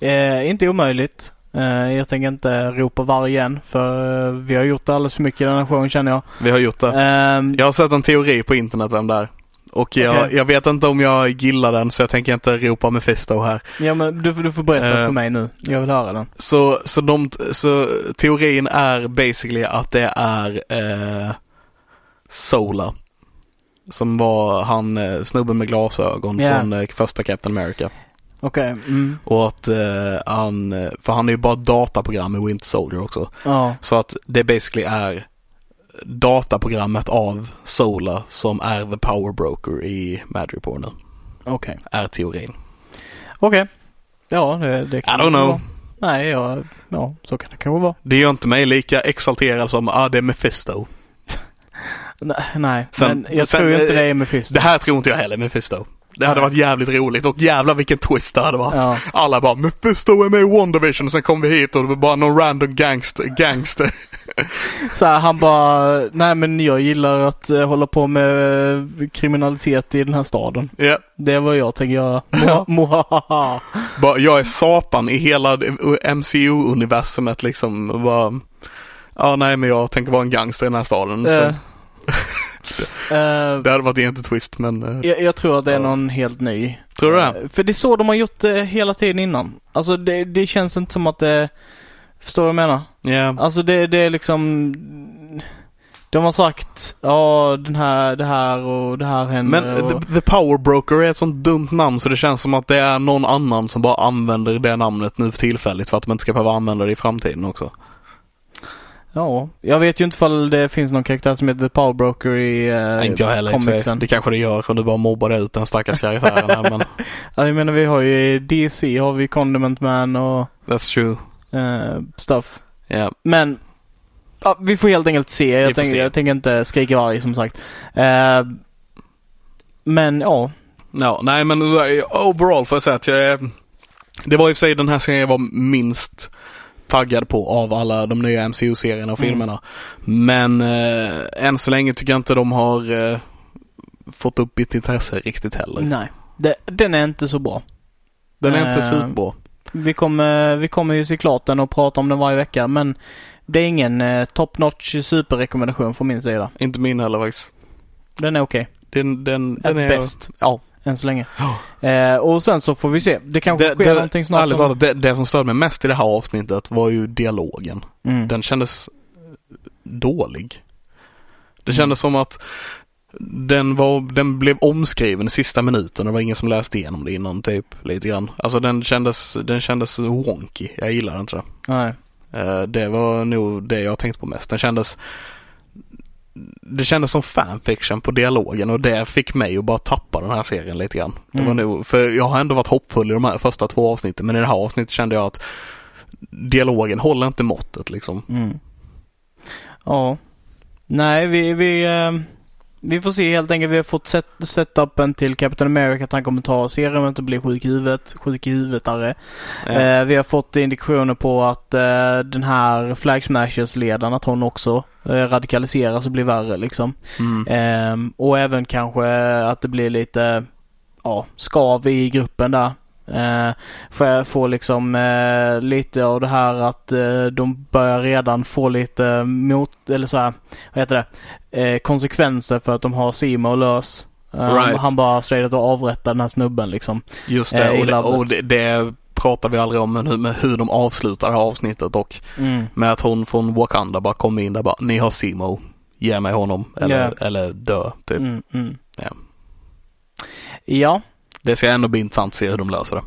[SPEAKER 1] eh, inte omöjligt. Eh, jag tänker inte ropa varje en för eh, vi har gjort alldeles för mycket i den här showen känner jag.
[SPEAKER 2] Vi har gjort det.
[SPEAKER 1] Ehm,
[SPEAKER 2] Jag har sett en teori på internet vem det är. Och jag,
[SPEAKER 1] Okej.
[SPEAKER 2] jag vet inte om jag gillar den så jag tänker inte ropa Mephisto här.
[SPEAKER 1] ja men du, får- du får berätta
[SPEAKER 2] Eh,
[SPEAKER 1] för mig nu. Jag vill höra den.
[SPEAKER 2] Så, så, de, så teorin är basically att det är eh, Sola. Som var han eh, snubben med glasögon
[SPEAKER 1] Ja.
[SPEAKER 2] från eh, första Captain America.
[SPEAKER 1] Okej. Mm.
[SPEAKER 2] Och att eh, han, eh, för han är ju bara dataprogram i Winter Soldier också.
[SPEAKER 1] Ja.
[SPEAKER 2] Så att det basically är dataprogrammet av Sola som är the power broker i Madripoor nu.
[SPEAKER 1] Okej.
[SPEAKER 2] Är teorin.
[SPEAKER 1] Okej. Ja, det, det
[SPEAKER 2] I don't know.
[SPEAKER 1] vara. Nej, ja, ja, så kan det kanske vara.
[SPEAKER 2] Det gör inte mig lika exalterad som, ah det är Mephisto.
[SPEAKER 1] Nej, nej.
[SPEAKER 2] Sen-
[SPEAKER 1] men jag
[SPEAKER 2] sen,
[SPEAKER 1] tror ju inte
[SPEAKER 2] eh,
[SPEAKER 1] det är Mephisto.
[SPEAKER 2] Det här tror inte jag heller Mephisto. Det hade
[SPEAKER 1] Nej.
[SPEAKER 2] varit jävligt roligt och jävla vilken twist det hade varit.
[SPEAKER 1] Ja.
[SPEAKER 2] Alla bara Mephisto är med i WandaVision och sen kom vi hit och det var bara någon random gangster, gangster
[SPEAKER 1] Så här, han bara, nej men jag gillar att eh, hålla på med eh, kriminalitet i den här staden.
[SPEAKER 2] *laughs* Ja.
[SPEAKER 1] Det är vad jag tänker göra.
[SPEAKER 2] *laughs* Ja.
[SPEAKER 1] *laughs* Moha- Mohahaha.
[SPEAKER 2] Bara, jag är satan i hela MCU-universumet liksom. Och Bara, ja, nej, men jag tänker vara en gangster i den här staden.
[SPEAKER 1] Eh, eh,
[SPEAKER 2] *laughs* Det hade varit egentligen twist, men eh,
[SPEAKER 1] jag, jag tror att det är
[SPEAKER 2] Ja.
[SPEAKER 1] någon helt ny.
[SPEAKER 2] tror du det?
[SPEAKER 1] Eh, För det är så de har gjort det hela tiden innan. Alltså det, det känns inte som att det... Förstår du vad jag menar?
[SPEAKER 2] Ja.
[SPEAKER 1] Alltså det, det är liksom... De har sagt ja den här, det här och det här händer.
[SPEAKER 2] Men eh,
[SPEAKER 1] och...
[SPEAKER 2] the, the Power Broker är ett sånt dumt namn så det känns som att det är någon annan som bara använder det namnet nu för tillfället för att de inte ska behöva använda det i framtiden också.
[SPEAKER 1] Ja, jag vet ju inte ifall det finns någon karaktär som heter The Power Broker i eh,
[SPEAKER 2] Nej, inte jag heller. i och för sig.
[SPEAKER 1] comicsen.
[SPEAKER 2] Det kanske det gör om du bara mobbar det ut den stackars karaktären
[SPEAKER 1] *laughs*
[SPEAKER 2] här men
[SPEAKER 1] Ja, jag menar vi har ju i DC har vi Condiment Man och
[SPEAKER 2] that's true.
[SPEAKER 1] eh, stuff.
[SPEAKER 2] Ja.
[SPEAKER 1] Men ja, vi får helt enkelt se.
[SPEAKER 2] Vi får
[SPEAKER 1] Jag, tänker,
[SPEAKER 2] se.
[SPEAKER 1] jag tänker inte skrika varg som sagt. Eh, men ja.
[SPEAKER 2] Ja, nej men eh, overall får jag säga att jag är- Det var i och för sig den här serien jag var minst taggad på av alla de nya MCU-serierna och
[SPEAKER 1] Mm.
[SPEAKER 2] filmerna. Men eh, än så länge tycker jag inte de har eh, fått upp mitt intresse riktigt heller.
[SPEAKER 1] Nej. Det, den är inte så bra.
[SPEAKER 2] Den är inte
[SPEAKER 1] Eh,
[SPEAKER 2] superbra.
[SPEAKER 1] Vi kommer, vi kommer ju se klart den och prata om den varje vecka men det är ingen eh, top notch superrekommendation från min sida.
[SPEAKER 2] Inte min heller faktiskt.
[SPEAKER 1] Den är okej.
[SPEAKER 2] Den, den, den
[SPEAKER 1] Okay.
[SPEAKER 2] är...
[SPEAKER 1] Bäst.
[SPEAKER 2] Ja.
[SPEAKER 1] Än så länge. Eh, och sen så får vi se. Det kanske
[SPEAKER 2] Det,
[SPEAKER 1] sker
[SPEAKER 2] det,
[SPEAKER 1] någonting snart.
[SPEAKER 2] ärligt
[SPEAKER 1] som-
[SPEAKER 2] talat, det, det som störde mig mest i det här avsnittet var ju dialogen.
[SPEAKER 1] Mm.
[SPEAKER 2] Den kändes dålig. Det kändes som att den, var, den blev omskriven i sista minuten och det var ingen som läste igenom det innan typ lite grann. Alltså den kändes, den kändes wonky. Jag gillar inte det.
[SPEAKER 1] Nej.
[SPEAKER 2] Eh, Det var nog det jag tänkte på mest. Den kändes det kändes som fanfiction på dialogen och det fick mig att bara tappa den här serien lite grann. Det var
[SPEAKER 1] Mm.
[SPEAKER 2] nog, för jag har ändå varit hoppfull i de här första två avsnitten men i det här avsnittet kände jag att dialogen håller inte måttet liksom.
[SPEAKER 1] Mm. Ja. Nej, vi, vi, eh, vi får se helt enkelt. Vi har fått set, setupen till Captain America att han kommer ta serumet och bli sjuk i huvudet. Sjuk i huvudetare.
[SPEAKER 2] Eh,
[SPEAKER 1] Eh, vi har fått indikationer på att eh, den här Flag Smashers-ledaren, att hon också eh, radikaliseras och blir värre liksom.
[SPEAKER 2] mm.
[SPEAKER 1] Ehm, och även kanske att det blir lite ja, skav i gruppen där. Eh, för jag får liksom eh, lite av det här att eh, de börjar redan få lite mot, eller så här, vad heter det, eh, konsekvenser för att de har Seymour lös. Eh,
[SPEAKER 2] Right.
[SPEAKER 1] Han bara straight och avrättar den här snubben liksom.
[SPEAKER 2] Just
[SPEAKER 1] eh,
[SPEAKER 2] det,
[SPEAKER 1] i
[SPEAKER 2] och, det,
[SPEAKER 1] labbet.
[SPEAKER 2] och det, det pratar vi aldrig om men hur, men hur de avslutar det här avsnittet och
[SPEAKER 1] Mm.
[SPEAKER 2] med att hon från Wakanda bara kom in där bara ni har Simo, ge mig honom eller,
[SPEAKER 1] Ja.
[SPEAKER 2] eller dö typ.
[SPEAKER 1] Mm, mm.
[SPEAKER 2] Ja.
[SPEAKER 1] Ja.
[SPEAKER 2] Det ska ändå bli intressant att se hur de löser det.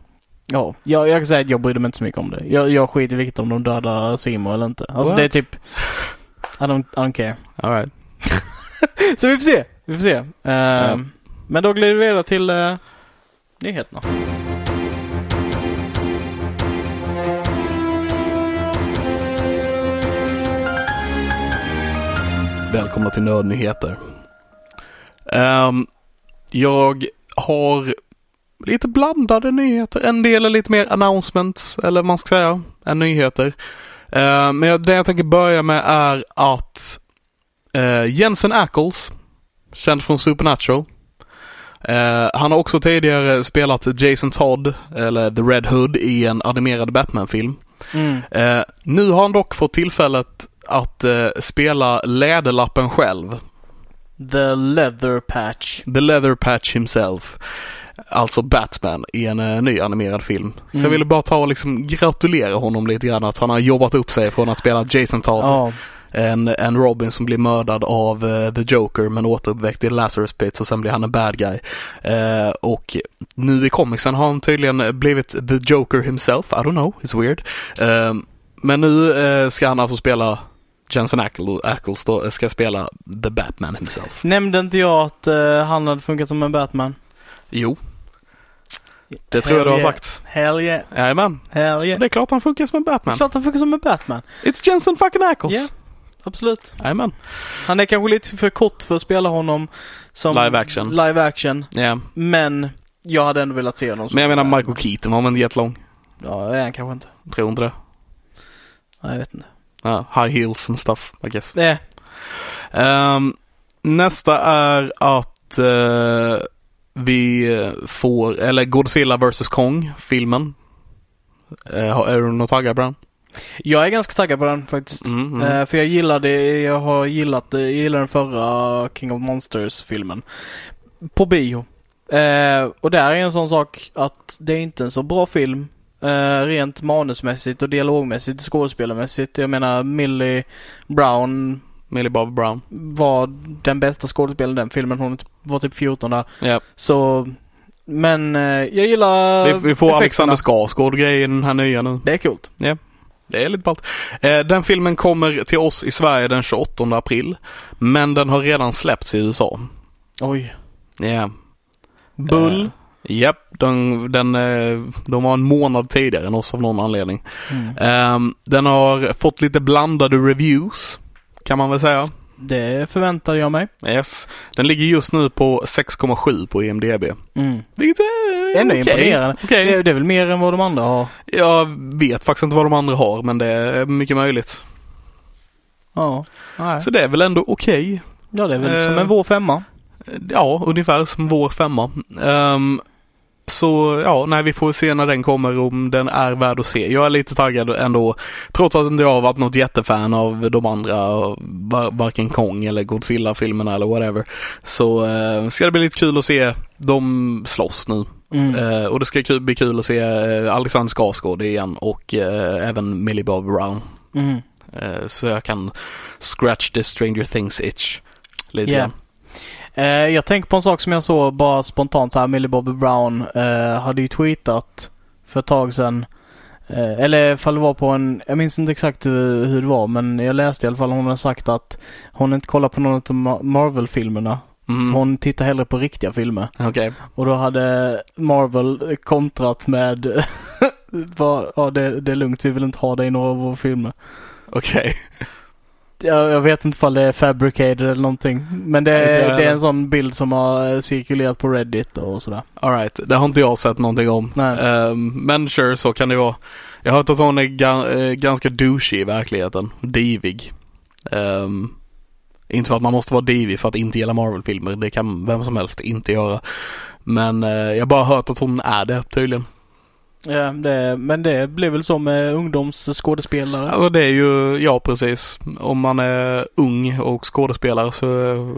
[SPEAKER 1] Ja, jag, jag kan säga att jag brydde mig inte så mycket om det. Jag, jag skiter i vilket om de dödar Seymour eller inte. Alltså
[SPEAKER 2] What?
[SPEAKER 1] det är typ... I don't, I don't care.
[SPEAKER 2] All right.
[SPEAKER 1] Så vi får se. Vi får se. Ehm, Men då glider vi vidare till eh, nyheterna.
[SPEAKER 2] Välkomna till Nödnyheter. Ehm, jag har lite blandade nyheter. En del är lite mer announcements, eller vad man ska säga, än nyheter. Ehm, men jag- det jag tänker börja med är att eh, Jensen Ackles, känd från Supernatural, eh, han har också tidigare spelat Jason Todd, eller The Red Hood, i en animerad Batman-film.
[SPEAKER 1] Mm.
[SPEAKER 2] Eh, nu har han dock fått tillfället att eh, spela Läderlappen själv.
[SPEAKER 1] The Leather Patch.
[SPEAKER 2] The Leather Patch himself. Alltså Batman i en eh, ny animerad film. Så jag
[SPEAKER 1] Mm.
[SPEAKER 2] ville bara ta och liksom gratulera honom lite grann att han har jobbat upp sig från att spela Jason Todd,
[SPEAKER 1] Ja.
[SPEAKER 2] en, en Robin som blir mördad av eh, The Joker men återuppväckt i Lazarus Pit och sen blir han en bad guy. Eh, och nu i comicsen har han tydligen blivit The Joker himself, I don't know, it's weird. Eh, men nu eh, ska han alltså spela Jensen Ackles, Ackles då, eh, ska spela The Batman himself.
[SPEAKER 1] Nämnde inte jag att eh, han hade funkat som en Batman?
[SPEAKER 2] Jo, det tror jag du har
[SPEAKER 1] Hell yeah.
[SPEAKER 2] sagt.
[SPEAKER 1] Hell yeah.
[SPEAKER 2] Jajamän.
[SPEAKER 1] Hell yeah.
[SPEAKER 2] Det är klart han funkar som en Batman.
[SPEAKER 1] Klart han funkar som en Batman.
[SPEAKER 2] It's Jensen fucking Ackles.
[SPEAKER 1] Ja. Absolut.
[SPEAKER 2] Jajamän.
[SPEAKER 1] Han är kanske lite för kort för att spela honom som
[SPEAKER 2] Live action.
[SPEAKER 1] live action.
[SPEAKER 2] Ja.
[SPEAKER 1] Men jag hade ändå velat se honom som
[SPEAKER 2] Men jag menar
[SPEAKER 1] Batman.
[SPEAKER 2] Michael Keaton var väl inte jättelång?
[SPEAKER 1] Ja, det är han kanske inte.
[SPEAKER 2] Tror inte det.
[SPEAKER 1] Nej, jag vet inte.
[SPEAKER 2] Ja, high heels and stuff, I guess.
[SPEAKER 1] Eh,
[SPEAKER 2] Ehm, nästa är att eh, vi eh, får, eller Godzilla vs Kong, filmen. Eh, har- är du något taggad på den?
[SPEAKER 1] jag är ganska taggad på den faktiskt.
[SPEAKER 2] Mm, mm.
[SPEAKER 1] Eh, för jag gillade, jag har gillat, jag gillade den förra King of Monsters-filmen. På bio. Eh, och där är en sån sak att det är inte en så bra film. Eh, rent manusmässigt och dialogmässigt, skådespelarmässigt. Jag menar Millie Brown
[SPEAKER 2] Millie Bobby Brown.
[SPEAKER 1] var den bästa skådespelaren i den filmen. Hon var typ 14 där.
[SPEAKER 2] Ja.
[SPEAKER 1] Så, men eh, jag gillar
[SPEAKER 2] Vi, vi får
[SPEAKER 1] effekterna.
[SPEAKER 2] Alexander Skarsgård-grejen i den här nya nu.
[SPEAKER 1] Det är kul.
[SPEAKER 2] Det är lite ballt. Eh, den filmen kommer till oss i Sverige den 28 april. Men den har redan släppts i USA.
[SPEAKER 1] Oj.
[SPEAKER 2] Ja.
[SPEAKER 1] Bull.
[SPEAKER 2] Eh, Japp, den, den, eh, de var en månad tidigare än oss av någon anledning.
[SPEAKER 1] Mm.
[SPEAKER 2] Ehm, den har fått lite blandade reviews, kan man väl säga.
[SPEAKER 1] Det förväntade jag mig.
[SPEAKER 2] Yes. Den ligger just nu på 6,7 på IMDB.
[SPEAKER 1] Mm.
[SPEAKER 2] Vilket är
[SPEAKER 1] Ändå
[SPEAKER 2] okej.
[SPEAKER 1] imponerande.
[SPEAKER 2] Okej.
[SPEAKER 1] Det, det är väl mer än vad de andra har.
[SPEAKER 2] Jag vet faktiskt inte vad de andra har, men det är mycket möjligt.
[SPEAKER 1] Ja. Nej.
[SPEAKER 2] Så det är väl ändå okej.
[SPEAKER 1] ja, det är väl
[SPEAKER 2] eh,
[SPEAKER 1] som en vår femma.
[SPEAKER 2] Ja, ungefär som vår femma. Ehm, så ja, nej vi får se när den kommer om den är värd att se. Jag är lite taggad ändå. Trots att inte jag har varit något jättefan av de andra, var- varken Kong eller Godzilla-filmerna eller whatever. Så eh, ska det bli lite kul att se dem slåss nu.
[SPEAKER 1] Mm.
[SPEAKER 2] Eh, och det ska kul, bli kul att se eh, Alexander Skarsgård igen och eh, även Millie Bob Brown.
[SPEAKER 1] Mm.
[SPEAKER 2] Eh, så jag kan scratch the Stranger Things itch. Lite
[SPEAKER 1] Yeah.
[SPEAKER 2] grann.
[SPEAKER 1] Eh, jag tänker på en sak som jag såg bara spontant så här. Millie Bobby Brown eh, hade ju tweetat för ett tag sedan. Eh, eller ifall det var på en, jag minns inte exakt hur, hur det var men jag läste i alla fall hon har sagt att hon inte kollar på någon av Ma- Marvel-filmerna.
[SPEAKER 2] Mm.
[SPEAKER 1] Hon tittar hellre på riktiga filmer.
[SPEAKER 2] Okej.
[SPEAKER 1] Och då hade Marvel kontrat med *laughs* bara, ja det, det är lugnt, vi vill inte ha dig i några av våra filmer.
[SPEAKER 2] Okej.
[SPEAKER 1] Jag, jag vet inte ifall det är fabricated eller någonting. Men det,
[SPEAKER 2] Jag vet inte jag
[SPEAKER 1] det är
[SPEAKER 2] heller.
[SPEAKER 1] en sån bild som har eh, cirkulerat på Reddit och sådär.
[SPEAKER 2] Alright, det har inte jag sett någonting om.
[SPEAKER 1] Nej.
[SPEAKER 2] Ehm, men sure, så kan det vara. Jag har hört att hon är ga- eh, ganska douchey i verkligheten. Divig. Ehm, inte för att man måste vara divig för att inte gilla Marvel-filmer. Det kan vem som helst inte göra. Men eh, jag har bara hört att hon är det tydligen.
[SPEAKER 1] Ja, det, men det blir väl så med ungdomsskådespelare.
[SPEAKER 2] Alltså det är ju, ja precis. Om man är ung och skådespelare så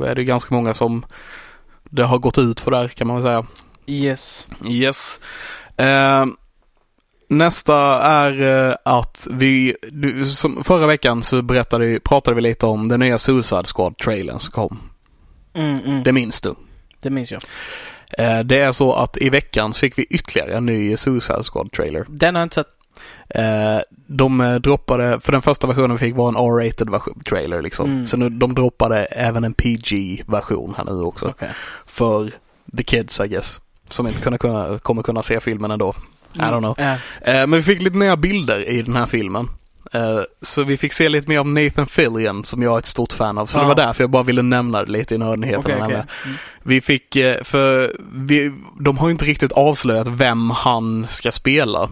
[SPEAKER 2] är det ganska många som det har gått ut för där kan man väl säga.
[SPEAKER 1] Yes.
[SPEAKER 2] Yes. Eh, nästa är eh, att vi, du, som förra veckan så berättade, pratade vi lite om den nya Suicide Squad-trailern som kom.
[SPEAKER 1] Mm, mm.
[SPEAKER 2] Det
[SPEAKER 1] Det,
[SPEAKER 2] minns du.
[SPEAKER 1] minns jag.
[SPEAKER 2] Eh, det är så att i veckan så fick vi ytterligare en ny Suicide Squad-trailer.
[SPEAKER 1] Den har jag inte sett.
[SPEAKER 2] Eh, de eh, droppade, för den första versionen vi fick var en R-rated version, trailer liksom.
[SPEAKER 1] Mm.
[SPEAKER 2] Så nu, de droppade även en PG-version här nu också.
[SPEAKER 1] Okej.
[SPEAKER 2] För the kids I guess. Som inte kunna, kunna, kommer kunna se filmen ändå. I don't know.
[SPEAKER 1] Mm. Eh,
[SPEAKER 2] Eh, Men vi fick lite nya bilder i den här filmen. Eh, Så vi fick se lite mer om Nathan Fillion som jag är ett stort fan av. Så det
[SPEAKER 1] Ja.
[SPEAKER 2] var därför jag bara ville nämna det lite i nödvändigheten.
[SPEAKER 1] Okej,
[SPEAKER 2] här
[SPEAKER 1] okej. Mm.
[SPEAKER 2] med. Vi fick, eh, för vi, de har ju inte riktigt avslöjat vem han ska spela.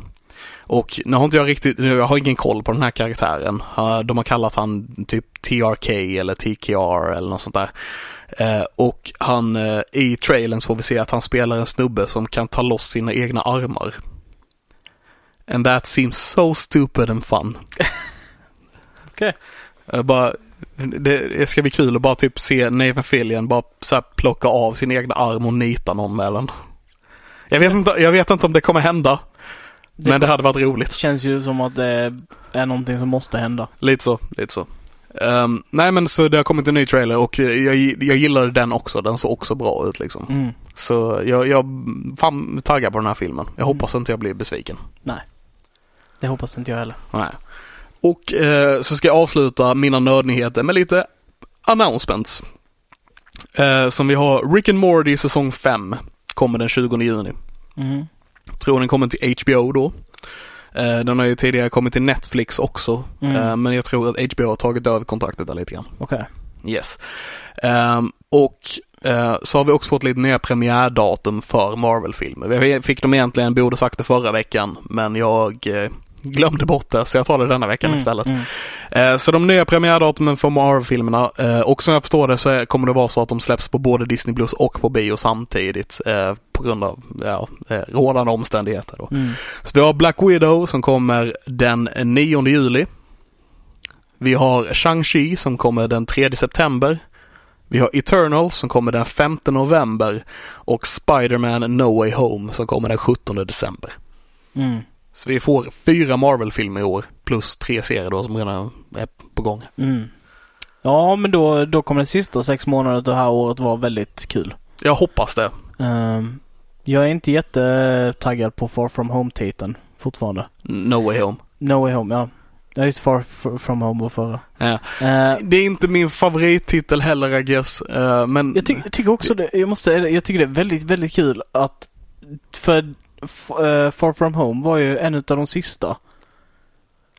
[SPEAKER 2] Och nu har inte jag riktigt, nu, jag har ingen koll på den här karaktären. Eh, De har kallat han typ TRK eller TKR eller något sånt där. Eh, Och han, eh, i trailern så får vi se att han spelar en snubbe som kan ta loss sina egna armar. And that seems so stupid and fun.
[SPEAKER 1] Okej.
[SPEAKER 2] Jag bara, det, det ska bli kul att bara typ se Nathan Fillion bara så här plocka av sin egna arm och nita någon med den. Jag vet, inte, jag vet inte om det kommer hända,
[SPEAKER 1] Det
[SPEAKER 2] men det hade varit roligt.
[SPEAKER 1] känns ju som att det är någonting som måste hända.
[SPEAKER 2] Lite så, lite så. Ehm, nej men så det har kommit en ny trailer och jag, jag gillade den också. Den såg också bra ut liksom.
[SPEAKER 1] Mm.
[SPEAKER 2] Så jag, jag fan taggar på den här filmen. Jag hoppas inte jag blir besviken.
[SPEAKER 1] Det hoppas inte jag heller.
[SPEAKER 2] Nej. Och eh, så ska jag avsluta mina nördnyheter med lite announcements. Eh, som vi har Rick and Morty säsong 5. Kommer den 20 juni.
[SPEAKER 1] Mm.
[SPEAKER 2] Tror den kommer till HBO då. Eh, den har ju tidigare kommit till Netflix också.
[SPEAKER 1] Mm.
[SPEAKER 2] Eh, men jag tror att HBO har tagit över kontraktet där lite grann.
[SPEAKER 1] Okej.
[SPEAKER 2] Yes. Ehm, och eh, så har vi också fått lite nya premiärdatum för Marvel-filmer. Vi fick dem egentligen, borde sagt det förra veckan, men jag eh, glömde bort det, så jag tar det denna veckan
[SPEAKER 1] Mm,
[SPEAKER 2] istället.
[SPEAKER 1] mm.
[SPEAKER 2] Eh, Så de nya premiärdatumen för Marvel-filmerna eh, och som jag förstår det så är- kommer det vara så att de släpps på både Disney Plus och på bio samtidigt eh, på grund av ja, eh, rådande omständigheter. Då.
[SPEAKER 1] Mm.
[SPEAKER 2] Så vi har Black Widow som kommer den 9 juli. Vi har Shang-Chi som kommer den 3 september. Vi har Eternal som kommer den 5 november och Spider-Man No Way Home som kommer den 17 december.
[SPEAKER 1] Mm.
[SPEAKER 2] Så vi får fyra Marvel-filmer i år plus tre serier då som redan är på gång.
[SPEAKER 1] Mm. Ja, men då, då kommer de sista sex månaderna det här året vara väldigt kul.
[SPEAKER 2] Jag hoppas det.
[SPEAKER 1] Ehm, jag är inte jättetaggad på Far From Home-titeln fortfarande.
[SPEAKER 2] No Way Home.
[SPEAKER 1] No Way Home, ja. Ja, just Far F- From Home var förra.
[SPEAKER 2] Ja.
[SPEAKER 1] Ehm,
[SPEAKER 2] Det är inte min favorittitel heller I guess. eh, men
[SPEAKER 1] jag, ty- jag tycker också det, jag måste, jag tycker det är väldigt, väldigt kul att för f- eh, Far From Home var ju en av de sista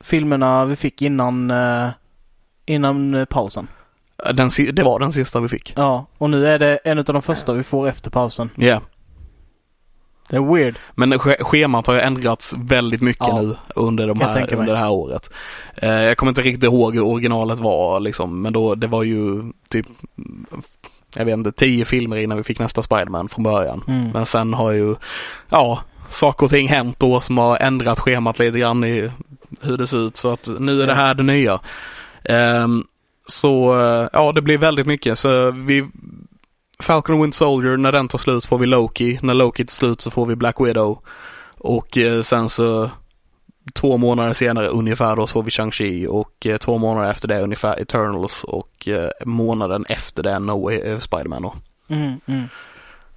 [SPEAKER 1] filmerna vi fick innan, eh, innan eh, pausen.
[SPEAKER 2] den, si- det var den sista vi fick.
[SPEAKER 1] Ja, och nu är det en av de första vi får efter pausen.
[SPEAKER 2] Ja.
[SPEAKER 1] Det är weird.
[SPEAKER 2] Men sch- schemat har ju ändrats väldigt mycket
[SPEAKER 1] Ja.
[SPEAKER 2] nu under, de
[SPEAKER 1] Kan jag
[SPEAKER 2] här,
[SPEAKER 1] tänka mig.
[SPEAKER 2] under det här året. Eh, jag kommer inte riktigt ihåg hur originalet var liksom, men då, det var ju typ, jag vet inte, tio filmer innan vi fick nästa Spiderman från början.
[SPEAKER 1] Mm.
[SPEAKER 2] Men sen har ju, ja, saker och ting hänt då som har ändrat schemat lite grann i hur det ser ut. Så att nu är det här det nya. Ehm, så eh, ja, det blir väldigt mycket. Så vi, Falcon and Wind Soldier, när den tar slut får vi Loki. När Loki tar slut så får vi Black Widow. Och eh, sen så två månader senare ungefär då så får vi Shang-Chi och eh, två månader efter det ungefär Eternals och eh, månaden efter det No Way eh, Spider-Man då.
[SPEAKER 1] Mm, mm.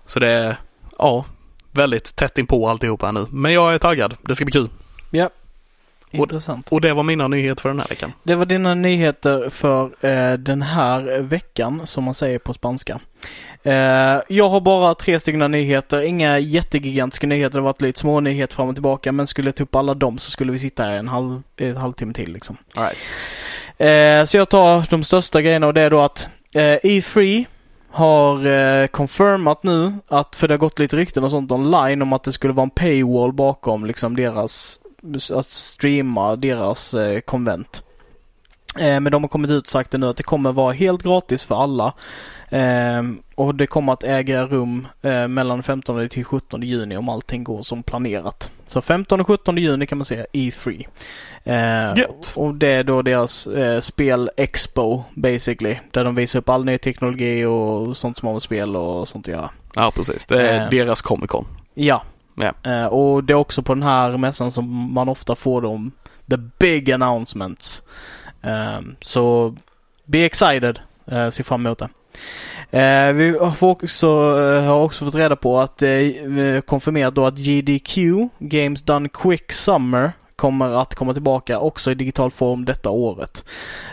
[SPEAKER 2] Så det är, ja, väldigt tätt inpå alltihopa här nu. Men jag är taggad. Det ska bli kul.
[SPEAKER 1] Ja.
[SPEAKER 2] Och-
[SPEAKER 1] Intressant.
[SPEAKER 2] Och det var mina nyheter för den här veckan.
[SPEAKER 1] Det var dina nyheter för eh, den här veckan, som man säger på spanska. Eh, jag har bara tre stycken nyheter, inga jättegigantiska nyheter. Det har varit lite små nyheter fram och tillbaka, men skulle jag ta upp alla dem så skulle vi sitta här en halv, en halvtimme till liksom.
[SPEAKER 2] All right.
[SPEAKER 1] Eh, så jag tar de största grejerna och det är då att eh, E3 har eh, confirmat nu att, för det har gått lite rykten och sånt online om att det skulle vara en paywall bakom liksom deras, att streama deras eh, konvent. Eh, men de har kommit ut och sagt det nu att det kommer vara helt gratis för alla. Eh, och det kommer att äga rum eh, mellan 15 till 17 juni om allting går som planerat. Så 15 och 17 juni kan man säga E3. Eh,
[SPEAKER 2] Gött.
[SPEAKER 1] och det är då deras eh, spelexpo basically. Där de visar upp all ny teknologi och sånt som har med spel och sånt att göra.
[SPEAKER 2] Ja, precis. Det är
[SPEAKER 1] Eh.
[SPEAKER 2] deras Comic Con.
[SPEAKER 1] Ja.
[SPEAKER 2] Ja.
[SPEAKER 1] Eh, och det är också på den här mässan som man ofta får de the big announcements. Eh, så be excited. Eh, se fram emot det. Eh, vi har också, eh, har också fått reda på att eh, eh, konfirmerat då att GDQ, Games Done Quick Summer, kommer att komma tillbaka också i digital form detta året.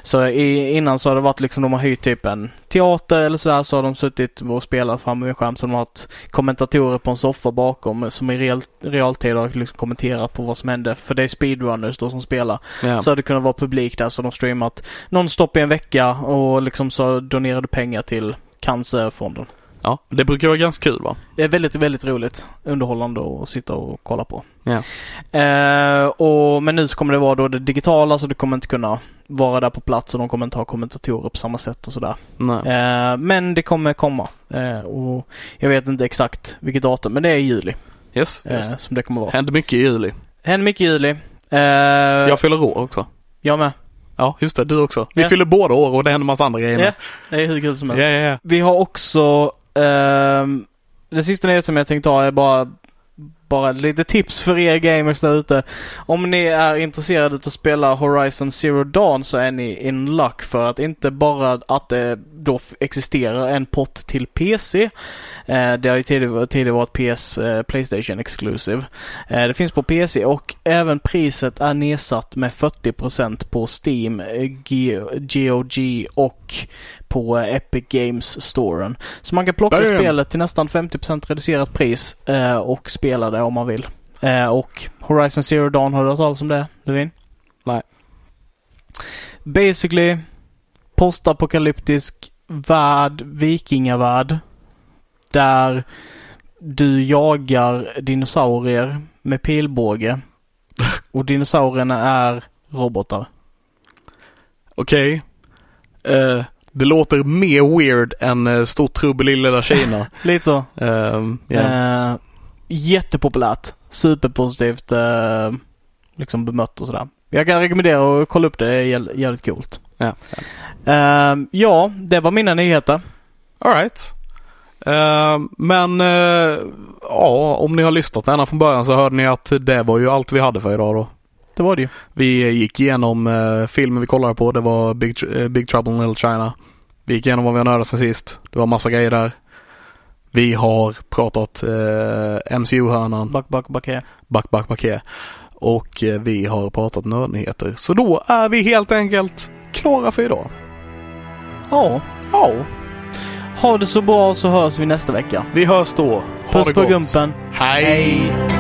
[SPEAKER 1] Så i, innan så har det varit liksom de har hyrt typ en teater eller sådär så har de suttit och spelat fram vid en skärm som har haft kommentatorer på en soffa bakom som i real, realtid har liksom kommenterat på vad som hände. För det är speedrunners då som spelar.
[SPEAKER 2] Ja.
[SPEAKER 1] Så hade det kunnat vara publik där så de streamat nonstop i en vecka och liksom så donerade pengar till Cancerfonden.
[SPEAKER 2] ja, det brukar vara ganska kul va?
[SPEAKER 1] Det är väldigt, väldigt roligt. Underhållande att sitta och kolla på.
[SPEAKER 2] Ja.
[SPEAKER 1] Eh, och, men nu så kommer det vara då det digitala så du kommer inte kunna vara där på plats och de kommer inte ha kommentatorer på samma sätt och sådär.
[SPEAKER 2] Nej.
[SPEAKER 1] Eh, men det kommer komma. Eh, och jag vet inte exakt vilket datum men det är i juli.
[SPEAKER 2] Yes. yes.
[SPEAKER 1] eh, som det kommer vara.
[SPEAKER 2] Hände mycket i juli.
[SPEAKER 1] Händer mycket i juli. Eh,
[SPEAKER 2] Jag
[SPEAKER 1] jag...
[SPEAKER 2] fyller år också.
[SPEAKER 1] med.
[SPEAKER 2] Ja, just det. Du också. Vi
[SPEAKER 1] Ja.
[SPEAKER 2] fyller båda år och det händer massa andra grejer.
[SPEAKER 1] Ja,
[SPEAKER 2] med.
[SPEAKER 1] det är hur kul som
[SPEAKER 2] Ja,
[SPEAKER 1] helst.
[SPEAKER 2] ja, ja.
[SPEAKER 1] Vi har också, ehm, det sista nyheten som jag tänkte ha är bara, bara lite tips för er gamers där ute. Om ni är intresserade av att spela Horizon Zero Dawn så är ni in luck för att inte bara att det då f- existerar en pott till PC. Eh, det har ju tidigare, tidigare varit PS, eh, Playstation Exclusive. Eh, det finns på PC och även priset är nedsatt med 40% på Steam, eh, G- GOG och på eh, Epic Games Storen. Så man kan plocka
[SPEAKER 2] Damn.
[SPEAKER 1] spelet till nästan 50% reducerat pris eh, och spela det om man vill. Eh, och Horizon Zero Dawn, har du hört talas om det Levin?
[SPEAKER 2] Nej.
[SPEAKER 1] Basically, postapokalyptisk värld, vikingavärld.
[SPEAKER 2] *laughs*
[SPEAKER 1] Där du jagar dinosaurier med pilbåge Och dinosaurierna är robotar.
[SPEAKER 2] Okej. Eh, det låter mer weird än eh, Stort trubbel i
[SPEAKER 1] *laughs*
[SPEAKER 2] lilla Kina.
[SPEAKER 1] Lite så.
[SPEAKER 2] Ehm, ja.
[SPEAKER 1] Eh, jättepopulärt. Superpositivt eh, liksom bemött och sådär. Jag kan rekommendera att kolla upp det. Det är jä- jävligt coolt.
[SPEAKER 2] Ja.
[SPEAKER 1] Eh, ja, det var mina nyheter.
[SPEAKER 2] Alright. Ehm, men eh, ja, om ni har lyssnat ända från början så hörde ni att det var ju allt vi hade för idag då.
[SPEAKER 1] Det var det ju.
[SPEAKER 2] Vi gick igenom eh, filmen vi kollade på. Det var Big, Tr- eh, Big Trouble in Little China. Vi gick igenom vad vi har nördat sen sist. Det var massa grejer där. Vi har pratat eh, MCU-hörnan.
[SPEAKER 1] Back, back, back här.
[SPEAKER 2] Back, back, back yeah. Och eh, vi har pratat nördnyheter. Så då är vi helt enkelt klara för idag.
[SPEAKER 1] Ja.
[SPEAKER 2] Ja,
[SPEAKER 1] Ha det så bra så hörs vi nästa vecka.
[SPEAKER 2] vi hörs då. Ha
[SPEAKER 1] Puss
[SPEAKER 2] det
[SPEAKER 1] på
[SPEAKER 2] gott.
[SPEAKER 1] gumpen.
[SPEAKER 2] Hej.